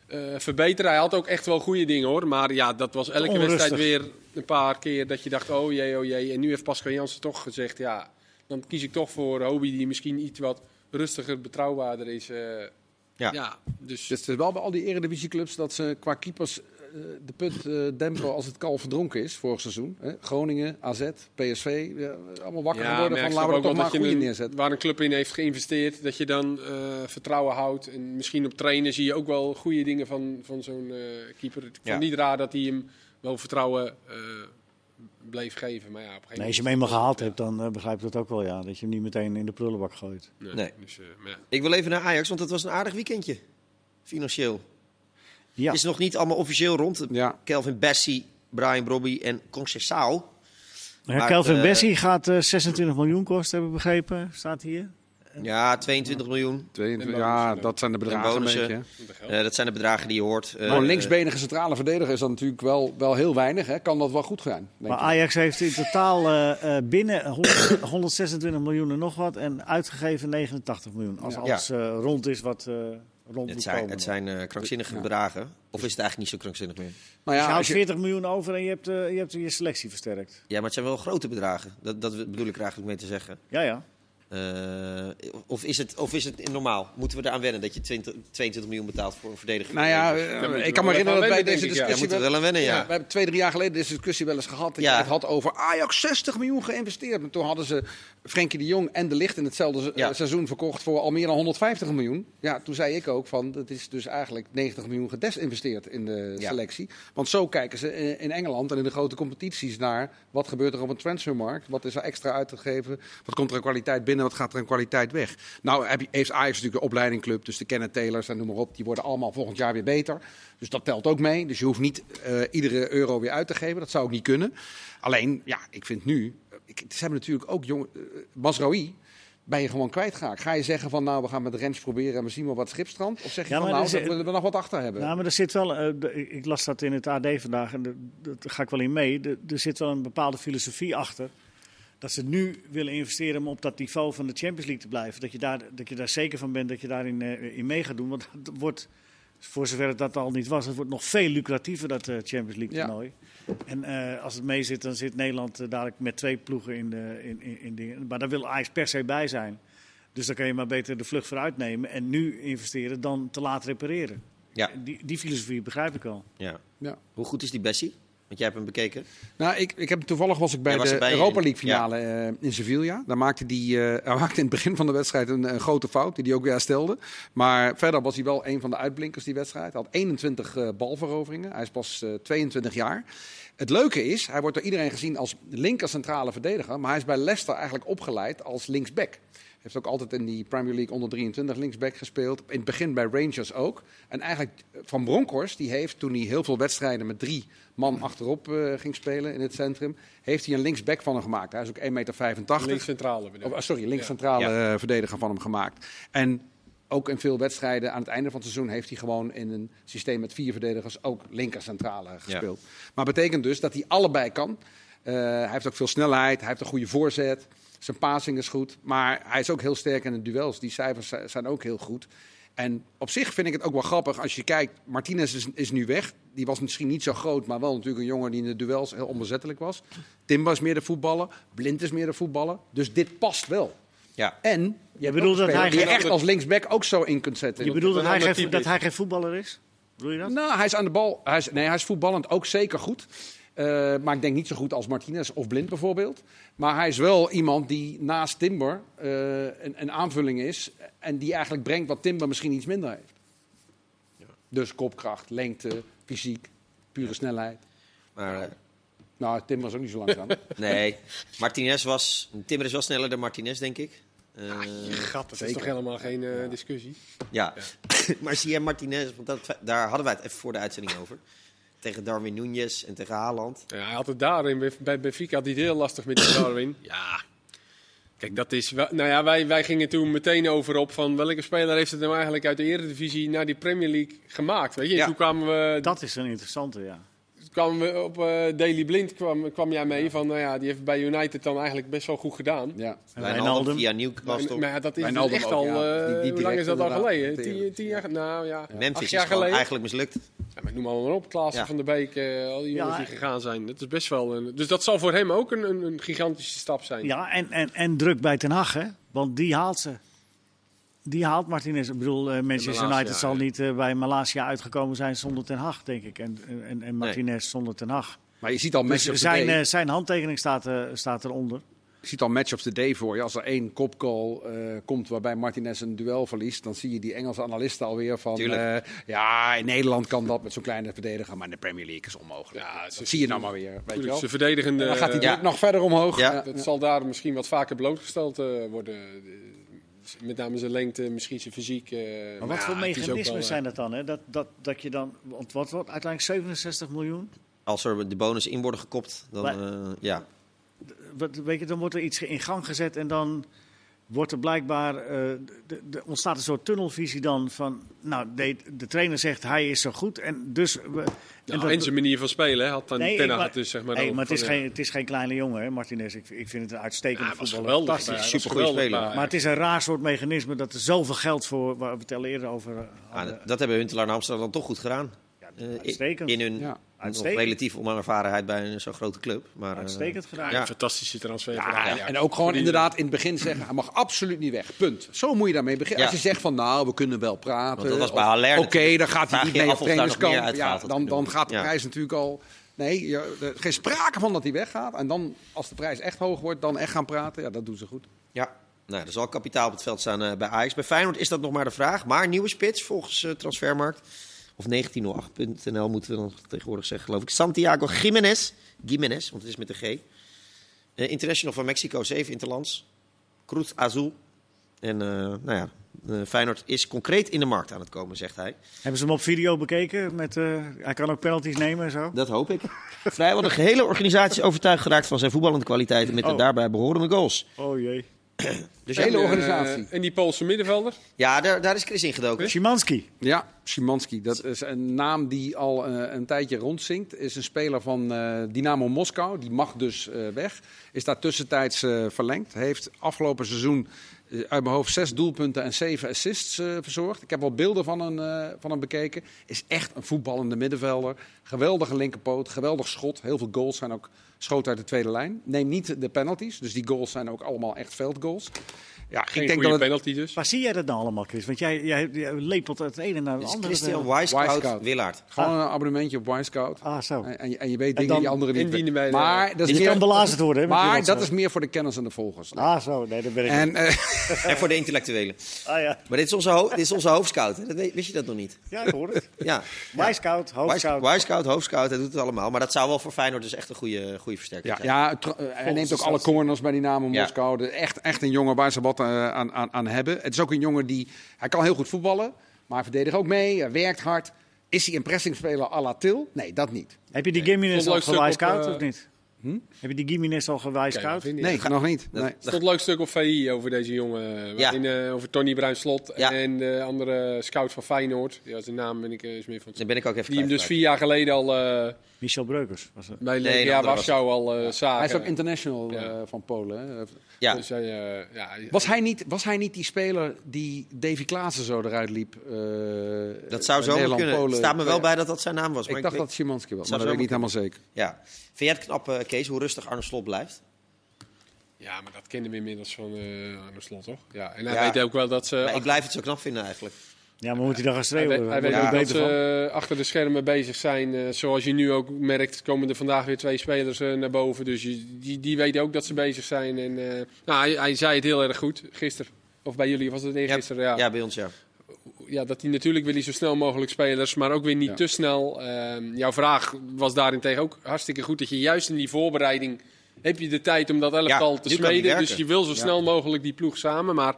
eh, verbeteren. Hij had ook echt wel goede dingen hoor. Maar ja, dat was elke Onrustig. wedstrijd weer een paar keer dat je dacht: oh jee, oh jee. En nu heeft Pascal Jansen toch gezegd: ja, dan kies ik toch voor Hobie, die misschien iets wat rustiger, betrouwbaarder is. eh. Ja. ja. dus. Dus het is wel bij al die eredivisieclubs dat ze qua keepers eh, de put eh, dempen als het kalf verdronken is vorig seizoen. Hè? Groningen, AZ, PSV, ja, eh, allemaal wakker Ja, geworden van maar laten ik snap we toch ook maar wel een dat je goede een- neerzetten. Waar een club in heeft geïnvesteerd, dat je dan eh, vertrouwen houdt. En misschien op trainen zie je ook wel goede dingen van, van zo'n eh, keeper. Ik Ja. vond niet raar dat hij hem wel vertrouwen eh, bleef geven. Maar ja, op een Nee, gegeven als je hem eenmaal gehaald hebt, dan eh, begrijp ik dat ook wel, ja. Dat je hem niet meteen in de prullenbak gooit. moment. Nee. Dus, eh, maar ja. Ik wil even naar Ajax, want het was een aardig weekendje. Financieel. Ja, Is nog niet allemaal officieel rond. Ja. Kelvin Bessie, Brian Brobby en Concessao. Ja, maar, Kelvin eh, Bessie gaat eh, 26 miljoen kosten, hebben we begrepen. Staat hier. Ja, 22 miljoen. 22, En bonussen ja, dan. dat zijn de bedragen een bonussen. beetje. hè. Met de geld. Eh, dat zijn de bedragen die je hoort. Eh, Voor een linksbenige centrale verdediger is dat natuurlijk wel, wel heel weinig. Hè? Kan dat wel goed gaan? Denk Maar ik. Ajax heeft in totaal eh, eh, binnen 100 126 miljoen en nog wat en uitgegeven 89 miljoen. Als Ja. alles eh, rond is wat eh rond Het moet zijn, komen. het zijn eh, krankzinnige bedragen. Dus- Of is het eigenlijk niet zo krankzinnig meer? Maar Dus je Nou ja, houdt als je- 40 miljoen over en je hebt, eh, je hebt je selectie versterkt. Ja, maar het zijn wel grote bedragen. Dat, dat bedoel ik er eigenlijk mee te zeggen. Ja, ja. Eh, of, is het, of is het normaal? Moeten we eraan wennen dat je 20, 22 miljoen betaalt voor een verdediger? nou ja, eh, moeten we ik kan me wel herinneren dat even bij deze aan wennen, denk ik, ja. Jij discussie... moet er wel aan wennen, Ja, ja. we hebben twee, drie jaar geleden deze discussie wel eens gehad. Dat Ja. je het had over Ajax 60 miljoen geïnvesteerd. Maar toen hadden ze Frenkie de Jong en De Licht in hetzelfde se- Ja. eh, seizoen verkocht voor al meer dan 150 miljoen. Ja, toen zei ik ook van, dat is dus eigenlijk 90 miljoen gedesinvesteerd in de Ja. selectie. Want zo kijken ze eh, in Engeland en in de grote competities naar wat gebeurt er op een transfermarkt. Wat is er extra uitgegeven? Wat komt er aan kwaliteit binnen? Wat gaat er aan kwaliteit weg? Nou heb je- heeft Ajax natuurlijk een opleidingclub. Dus de Kenneth Taylors en noem maar op. Die worden allemaal volgend jaar weer beter. Dus dat telt ook mee. Dus je hoeft niet eh, iedere euro weer uit te geven. Dat zou ook niet kunnen. Alleen, ja, ik vind nu... eh, Ik, ze hebben natuurlijk ook jong... eh, Masraoui ben je gewoon kwijtgeraakt. Ga je zeggen van, nou, we gaan met Rens proberen en we zien wel wat schipstrand? Of zeg je Ja, van, maar nou, er is- daar willen we nog wat achter hebben? Nou, maar er zit wel, eh, de- ik- ik las dat in het AD vandaag en de- dat ga ik wel in mee. De- er zit wel een bepaalde filosofie achter. Dat ze nu willen investeren om op dat niveau van de Champions League te blijven. Dat je daar, dat je daar zeker van bent dat je daarin eh, in mee gaat doen. Want dat wordt, voor zover het dat al niet was, het wordt nog veel lucratiever dat eh, Champions League Ja. toernooi. En eh, als het mee zit, dan zit Nederland eh, dadelijk met twee ploegen in, de, in, in, in dingen. Maar daar wil Ajax per se bij zijn. Dus dan kan je maar beter de vlucht vooruit nemen en nu investeren dan te laat repareren. Ja. Die, die filosofie begrijp ik al. Ja. Ja. Hoe goed is die Bessie? Want jij hebt hem bekeken. Nou, ik, ik heb, toevallig was ik bij Jij was de erbij Europa in- League finale eh, in Sevilla. Daar maakte die, eh, hij maakte in het begin van de wedstrijd een, een grote fout, die hij ook weer herstelde. Maar verder was hij wel een van de uitblinkers die wedstrijd. Hij had 21 eh, balveroveringen. Hij is pas eh, 22 jaar. Het leuke is, hij wordt door iedereen gezien als linker centrale verdediger. Maar hij is bij Leicester eigenlijk opgeleid als linksback. Heeft ook altijd in die Premier League onder 23 linksback gespeeld. In het begin bij Rangers ook. En eigenlijk eh, Van Bronckhorst, die heeft toen hij heel veel wedstrijden met drie man achterop eh, ging spelen in het centrum, heeft hij een linksback van hem gemaakt. Hij is ook 1,85 meter. Links centrale bedoel Of, ik. eh, sorry, linkscentrale eh, verdediger van hem gemaakt. En ook in veel wedstrijden aan het einde van het seizoen heeft hij gewoon in een systeem met vier verdedigers ook linkercentrale gespeeld. Maar betekent dus dat hij allebei kan. Eh, hij heeft ook veel snelheid, hij heeft een goede voorzet, zijn passing is goed. Maar hij is ook heel sterk in de duels, die cijfers zi- zijn ook heel goed. En op zich vind ik het ook wel grappig als je kijkt. Martinez is, is nu weg. Die was misschien niet zo groot, maar wel natuurlijk een jongen die in de duels heel onbezettelijk was. Tim was meer de voetballer. Blind is meer de voetballer. Dus dit past wel. Ja. En je, hebt bedoelt ook dat spelers hij die je geen echt ander- als linksback ook zo in kunt zetten. Je bedoelt dat een hij, ander geen, type dat is. hij geen voetballer is? Bedoel je dat? Nou, hij is aan de bal. Hij is, nee, hij is voetballend ook zeker goed. Eh, maar ik denk niet zo goed als Martinez of Blind bijvoorbeeld. Maar hij is wel iemand die naast Timber eh, een, een aanvulling is. En die eigenlijk brengt wat Timber misschien iets minder heeft. Dus kopkracht, lengte, fysiek, pure snelheid. Maar, eh, Nou, Timber is ook niet zo langzaam. nee, Martinez was... Timmer is wel sneller dan Martinez, denk ik. Eh, Ah, Gat, dat is toch helemaal geen eh, discussie? ja. maar zie je Martinez, want dat, daar hadden wij het even voor de uitzending over. Tegen Darwin Nunez en tegen Haaland. Ja, hij had het daarin. Bij Benfica had hij het heel lastig met die Darwin. Ja. Kijk, dat is... wel- Nou ja, wij, wij gingen toen meteen over op van... welke speler heeft het nou eigenlijk uit de Eredivisie naar die Premier League gemaakt? Weet je, Ja. toen kwamen we, Dat is een interessante, ja. kwamen we op eh Daily Blind, kwam, kwam jij mee van... nou ja, die heeft bij United dan eigenlijk best wel goed gedaan. ja. En Wijnaldum Wijnaldum. via Maar, Newcastle. maar ja, dat is dus Wijnaldum echt ook, al... ja. eh, Die- die hoe lang is dat al direct geleden? inderdaad, Tien, tien jaar geleden? Nou ja, acht Memphis is jaar gewoon geleden. eigenlijk mislukt. Ja, maar noem maar op, Klaassen Ja. van der Beek, eh, al die jongens Ja, die en- gegaan zijn. Dat is best wel een, dus dat zal voor hem ook een, een, een gigantische stap zijn. Ja, en, en, en druk bij Ten Hag, hè? Want die haalt ze. Die haalt Martinez. Ik bedoel, eh, Manchester Malasia, United zal ja. niet eh, bij Malaysia uitgekomen zijn zonder Ten Hag, denk ik. En, en, en Martinez zonder Ten Hag. Maar je ziet al Dus match-ups E! zijn, today. eh, zijn handtekening staat, eh, staat eronder. Je ziet al match of the day voor je. Als er één kopcall eh, komt waarbij Martinez een duel verliest, dan zie je die Engelse analisten alweer van... Tuurlijk. eh, ja, in Nederland kan dat met zo'n kleine verdediger, maar in de Premier League is onmogelijk. Ja, dat ze- zie je nou maar weer, weet je wel. Ze verdedigende. Dan gaat die eh, druk nog verder omhoog. Ja. dat zal daar misschien wat vaker blootgesteld eh, worden. Eh, Met name zijn lengte, misschien zijn fysiek. eh, Maar wat ja, voor het is ook wel, mechanismen eh, zijn dat dan? Hè? Dat, dat, dat je dan, want wat wordt uiteindelijk 67 miljoen? Als er de bonus in worden gekopt, dan Maar- Oh, eh, ja. Wat, weet je, dan wordt er iets in gang gezet en dan wordt er blijkbaar, eh, d- d- d- ontstaat een soort tunnelvisie dan van, nou de, de trainer zegt hij is zo goed en dus... We, nou, en, zijn manier van spelen hè, had dan Nee, Ten Hag maar- het dus zeg maar. nee, over maar het is, van, geen, het is geen kleine jongen, hè, Martinez. Ik, ik vind het een ja, uitstekende hij was voetballer. geweldig. Fantastisch. maar- Supergoeie eh, geweldig, speler. Maar het is een raar soort mechanisme dat er zoveel geld voor, waar we het al eerder over eh, Ah, hadden. dat, dat hebben Huntelaar en Amsterdam dan toch goed gedaan. Ja, Eh, in- uitstekend. In hun Ja. nog Uitstekend. relatief onervarenheid bij een zo'n grote club. Maar, eh, Uitstekend gedaan. ja. een fantastische transfer. Ja, van Ajax. en ook gewoon Die- inderdaad in het begin zeggen, hij mag absoluut niet weg. Punt. Zo moet je daarmee beginnen. Ja. Als je zegt van, nou, we kunnen wel praten. Want dat was bij of, Haller Oké, natuurlijk. dan gaat hij Vraag niet je mee af op of daar nog trainingskamp. meer uitgehaald Ja, had dan, kunnen dan worden. gaat de Ja. prijs natuurlijk al... Nee, je- er is geen sprake van dat hij weggaat. En dan, als de prijs echt hoog wordt, dan echt gaan praten. Ja, dat doen ze goed. Ja, nou, er zal kapitaal op het veld staan eh, bij Ajax. Bij Feyenoord is dat nog maar de vraag. Maar nieuwe spits volgens eh, Transfermarkt. Of 1908.nl moeten we dan tegenwoordig zeggen, geloof ik. Santiago Jiménez. Jiménez, want het is met de G. Eh, international van Mexico, 7 interlands. Cruz Azul. En eh, nou ja, eh, Feyenoord is concreet in de markt aan het komen, zegt hij. Hebben ze hem op video bekeken? Met, eh, hij kan ook penalties nemen en zo. Dat hoop ik. Vrijwel de gehele organisatie is overtuigd geraakt van zijn voetballende kwaliteiten met de Oh. daarbij behorende goals. Oh jee. Dus Hele ja, eh, organisatie. en die Poolse middenvelder. ja, daar, daar is Chris in gedoken. Szymanski. Ja, Szymanski. Dat is een naam die al eh, een tijdje rondzinkt. Is een speler van eh, Dynamo Moskou. Die mag dus eh, weg. Is daar tussentijds eh, verlengd. Heeft afgelopen seizoen eh, uit mijn hoofd zes doelpunten en zeven assists eh, verzorgd. Ik heb wel beelden van hem, eh, van hem bekeken. Is echt een voetballende middenvelder. Geweldige linkerpoot, geweldig schot. Heel veel goals zijn ook schoot uit de tweede lijn. Neem niet de penalties. Dus die goals zijn ook allemaal echt veldgoals. Ja, Geen ik denk goede dat het, penalty dus. Waar zie jij dat nou allemaal, Chris? Want jij, jij, jij lepelt het ene naar het Is andere. eh. Christian Wisecout. Wisecout Willaert. gewoon een abonnementje op Winescout. Ah, zo. En, en, je- en je weet dingen dan die anderen niet indienen weten. bij de- Maar dat is Je meer, kan belazerd worden, hè, met die Maar rotzooi. dat is meer voor de kenners en de volgers. Ah, zo. Nee, dat ben ik En, niet. eh, En voor de intellectuelen. Ah, ja. Maar dit is onze, ho- dit is onze hoofdscout. hè. Dat weet- wist je dat nog niet? ja, ik hoor het. Ja. Wijscout, Wisecout, hoofdscout. Wisecout, hoofdscout, hij doet het allemaal. Maar dat zou wel voor Feyenoord dus echt een goede, goede versterking ja, zijn. ja, tr- eh, hij neemt ook alle corners bij Dynamo Ja. Moskou. De- Echt, echt een jongen waar ze wat eh, aan, aan, aan hebben. Het is ook een jongen die... Hij kan heel goed voetballen, maar hij verdedigt ook mee. Hij werkt hard. Is hij een pressingspeler à la Til? Nee, dat niet. Heb je die Gimenez Stond al leuk stuk gewijscout op, eh, of niet? Heb je die Gimenez al gewijscout? Kijk, Nee, nog niet. dat- Nee. Er stond een leuk stuk op VI over deze jongen. eh, waarin, eh, over Tony Bruinslot Ja. en de andere scout van Feyenoord. Ja, zijn naam ben ik eh, is meer van. Dan ben ik ook even Die hem dus kwijtgeraakt. vier jaar geleden al eh, Michel Breukers was het. bij een Legia andere was Warschau al eh, zagen. Hij is ook international Ja. eh, van Polen. hè. Ja. Dus hij, eh, ja, hij- Was hij, niet, was hij niet die speler die Davy Klaassen zo eruit liep? eh, Dat zou bij zo Nederland, kunnen. Het Polen? staat me wel Ja. bij dat dat zijn naam was. maar Ik dacht weet- dat Szymanski was, Zou maar dat zo weet ik niet helemaal zeker. Ja. Vind jij het knap, eh, Kees, hoe rustig Arne Slot blijft? ja, maar dat kennen we inmiddels van eh Arne Slot, toch? Ja, en hij Ja. weet ook wel dat ze Maar ik blijf het zo knap vinden eigenlijk. Ja, maar moet hij dan gaan Hij, schreeuwen? weet- hij weet Wordt Ja. er ook dat beter van. ze eh, achter de schermen bezig zijn. Eh, zoals je nu ook merkt, komen er vandaag weer twee spelers eh, naar boven. Dus je, die, die weten ook dat ze bezig zijn. En, eh, nou, hij, hij zei het heel erg goed gisteren. Of bij jullie was het eergisteren. Ja, Ja. Ja. bij ons ja. dat hij natuurlijk wil hij zo snel mogelijk spelers, maar ook weer niet Ja. te snel. Ehm, jouw vraag was daarentegen ook hartstikke goed. Dat je juist in die voorbereiding heb je de tijd om dat elftal Ja, te nu kan die smeden. werken. Dus je wil zo Ja. snel mogelijk die ploeg samen. Maar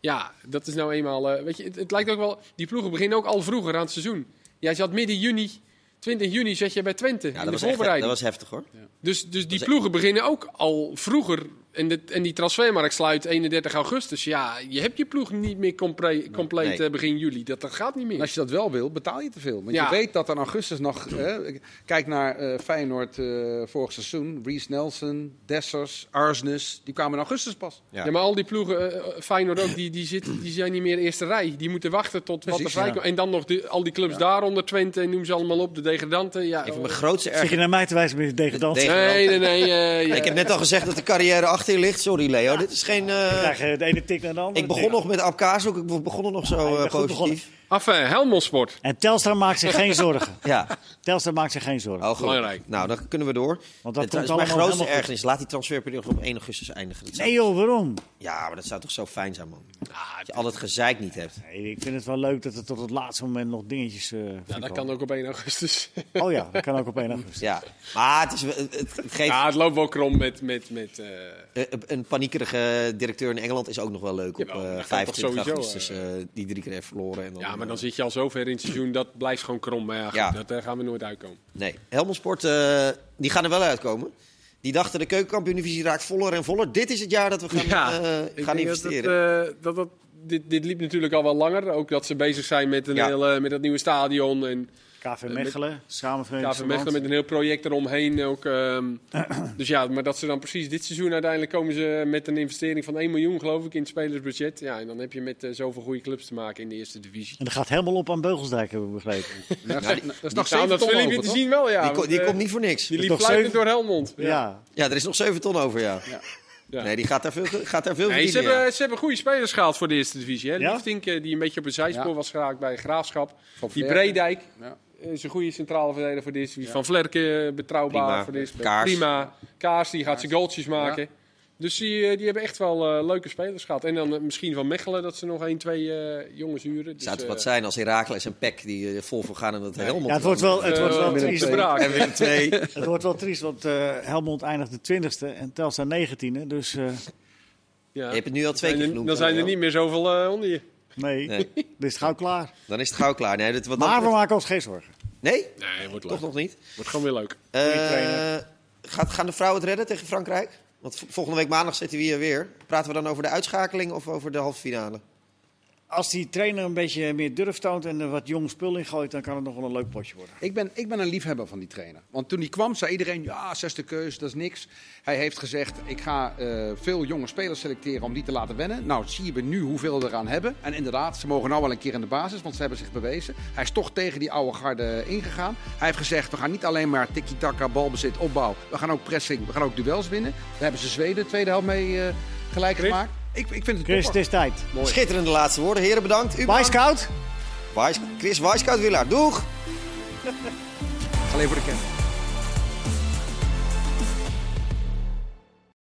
ja, dat is nou eenmaal. eh, weet je, het, het lijkt ook wel. Die ploegen beginnen ook al vroeger aan het seizoen. Jij zat midden juni, 20 juni, zat je bij Twente ja in dat, de was echt, dat voorbereiding. was heftig hoor. Dus, dus die was- ploegen beginnen ook al vroeger. En, dit- en die transfermarkt sluit 31 augustus. Ja, je hebt je ploeg niet meer compre- compleet Nee. eh, begin juli. Dat, dat gaat niet meer. En als je dat wel wil, betaal je te veel. Want Ja. je weet dat in augustus nog... eh, kijk naar eh, Feyenoord eh, vorig seizoen. Rees Nelson, Dessers, Arsnes. Die kwamen in augustus pas. Ja. Ja. maar al die ploegen, eh, eh, Feyenoord ook, die, die, zitten, die zijn niet meer eerste rij. Die moeten wachten tot wat er Precies, vrijkomt. ja. En dan nog de, al die clubs daaronder, Twente, en noem ze allemaal op, de degradanten. Ja, Een van oh. mijn grootste Zeg je ergernissen. naar mij te wijzen met degradant? eh, Nee. Ik Nee, nee, nee. eh, ja. Ik heb net al gezegd dat de carrière achter je ligt. Sorry Leo, dit is geen... eh, krijg eh, de ene tik naar de andere. ik begon tik. nog met Abkaas ook. Ik begon er nog zo Ja, eh, ik ben goed positief. Enfin, Helmonsport. En Telstar maakt zich geen zorgen. Ja, Telstar maakt zich geen zorgen. oh, goed. Belangrijk. Nou, dan kunnen we door. komt Het is allemaal mijn grootste helemaal goed. ergernis. Laat die transferperiode nog op 1 augustus eindigen. Dat zou- Nee joh, waarom? Ja, maar dat zou toch zo fijn zijn, man. Dat je al het gezeik niet hebt. Nee, ik vind het wel leuk dat er tot het laatste moment nog dingetjes eh Ja, dat voorkomen. kan ook op 1 augustus. Oh ja, dat kan ook op één augustus. Ja, maar het, is, wel- het, het- het geeft... ja, het loopt wel krom met... met, met eh, Eh, Een paniekerige directeur in Engeland is ook nog wel leuk op Jawel, dat eh kan 25 toch sowieso, augustus. eh, die drie keer heeft verloren. En dan, ja, maar dan eh, zit je al zo ver in het seizoen, dat blijft gewoon krom. Maar ja, goed, Ja. dat, daar gaan we nooit uitkomen. Nee, Helmond Sport, eh, die gaan er wel uitkomen. Die dachten, de keukenkampioen-divisie raakt voller en voller. Dit is het jaar dat we gaan, eh, gaan ik denk dat investeren. het, eh, dat, dat, dit, dit liep natuurlijk al wel langer. Ook dat ze bezig zijn met, een Ja. hele, met dat nieuwe stadion en... KV Mechelen, samenverenigd. KV Mechelen met een heel project eromheen ook. ehm. dus ja, maar dat ze dan precies dit seizoen uiteindelijk komen ze met een investering van 1 miljoen geloof ik in het spelersbudget. Ja, en dan heb je met eh, zoveel goede clubs te maken in de eerste divisie. En dat gaat helemaal op aan Beugelsdijk, hebben we begrepen. Ja, dat is nog Nou, zeven dat ton filmpje over, te toch? zien wel, ja. die ko- want, die eh, komt niet voor niks. Die is liep toch fluitend zeven- door Helmond. ja. Ja, er is nog 7 ton over, ja. Ja. Nee, die gaat daar veel, gaat daar veel Nee, ze, verdienen, hebben, ze hebben goede spelers gehaald voor de eerste divisie. Hè? Ja? Liefdink, eh, die een beetje op een zijspoor Ja. was geraakt bij Graafschap. Van Die Vlerken. Breedijk Ja. eh, is een goede centrale verdediger voor de eerste divisie. Van Vlerken, eh, betrouwbaar Prima. voor de eerste Kaars. Prima. Kaars, die gaat zijn goaltjes maken. Dus die, eh, die hebben echt wel eh, leuke spelers gehad. En dan eh, misschien van Mechelen dat ze nog één, twee eh, jongens huren. Het zou Dus, toch eh, wat zijn als Herakles en Peck die eh, vol voor gaan en dat Helmond... Ja, het wordt wel, het eh, wordt wel Willem triest. II. Braak. En Willem twee. Het wordt wel triest, want eh, Helmond eindigt de 20e en Telstar 19e. Dus eh, Ja. Je hebt het nu al twee keer Zijn er- genoemd. Dan zijn er Leo. niet meer zoveel eh, onder je. nee, Nee. dit is het gauw klaar. Dan is het gauw klaar. Nee, dit, wat dat Maar we betreft- maken ons geen zorgen. nee? Nee, wordt toch leuk. nog niet. Wordt gewoon weer leuk. Eh, trainer. gaat, gaan de vrouwen het redden tegen Frankrijk? Want v- volgende week maandag zitten we hier weer. Praten we dan over de uitschakeling of over de halve finale? Als die trainer een beetje meer durf toont en er wat jong spul in gooit, dan kan het nog wel een leuk potje worden. Ik ben, ik ben een liefhebber van die trainer. Want toen hij kwam, zei iedereen: ja, zesde keus, dat is niks. Hij heeft gezegd: ik ga eh, veel jonge spelers selecteren om die te laten wennen. Nou, zien we nu hoeveel we eraan hebben. En inderdaad, ze mogen nou wel een keer in de basis, want ze hebben zich bewezen. Hij is toch tegen die oude garde ingegaan. Hij heeft gezegd: we gaan niet alleen maar tiki-taka, balbezit, opbouw. We gaan ook pressing, we gaan ook duels winnen. Daar hebben ze Zweden de tweede helft mee eh, gelijk Chris? gemaakt. ik, ik vind het Chris, het topper. is tijd. Schitterende laatste woorden. Heren, bedankt. U Bye, bedankt. Scout! Wijs- Chris Wijskoud-Willaar. Doeg! Alleen voor de kennis.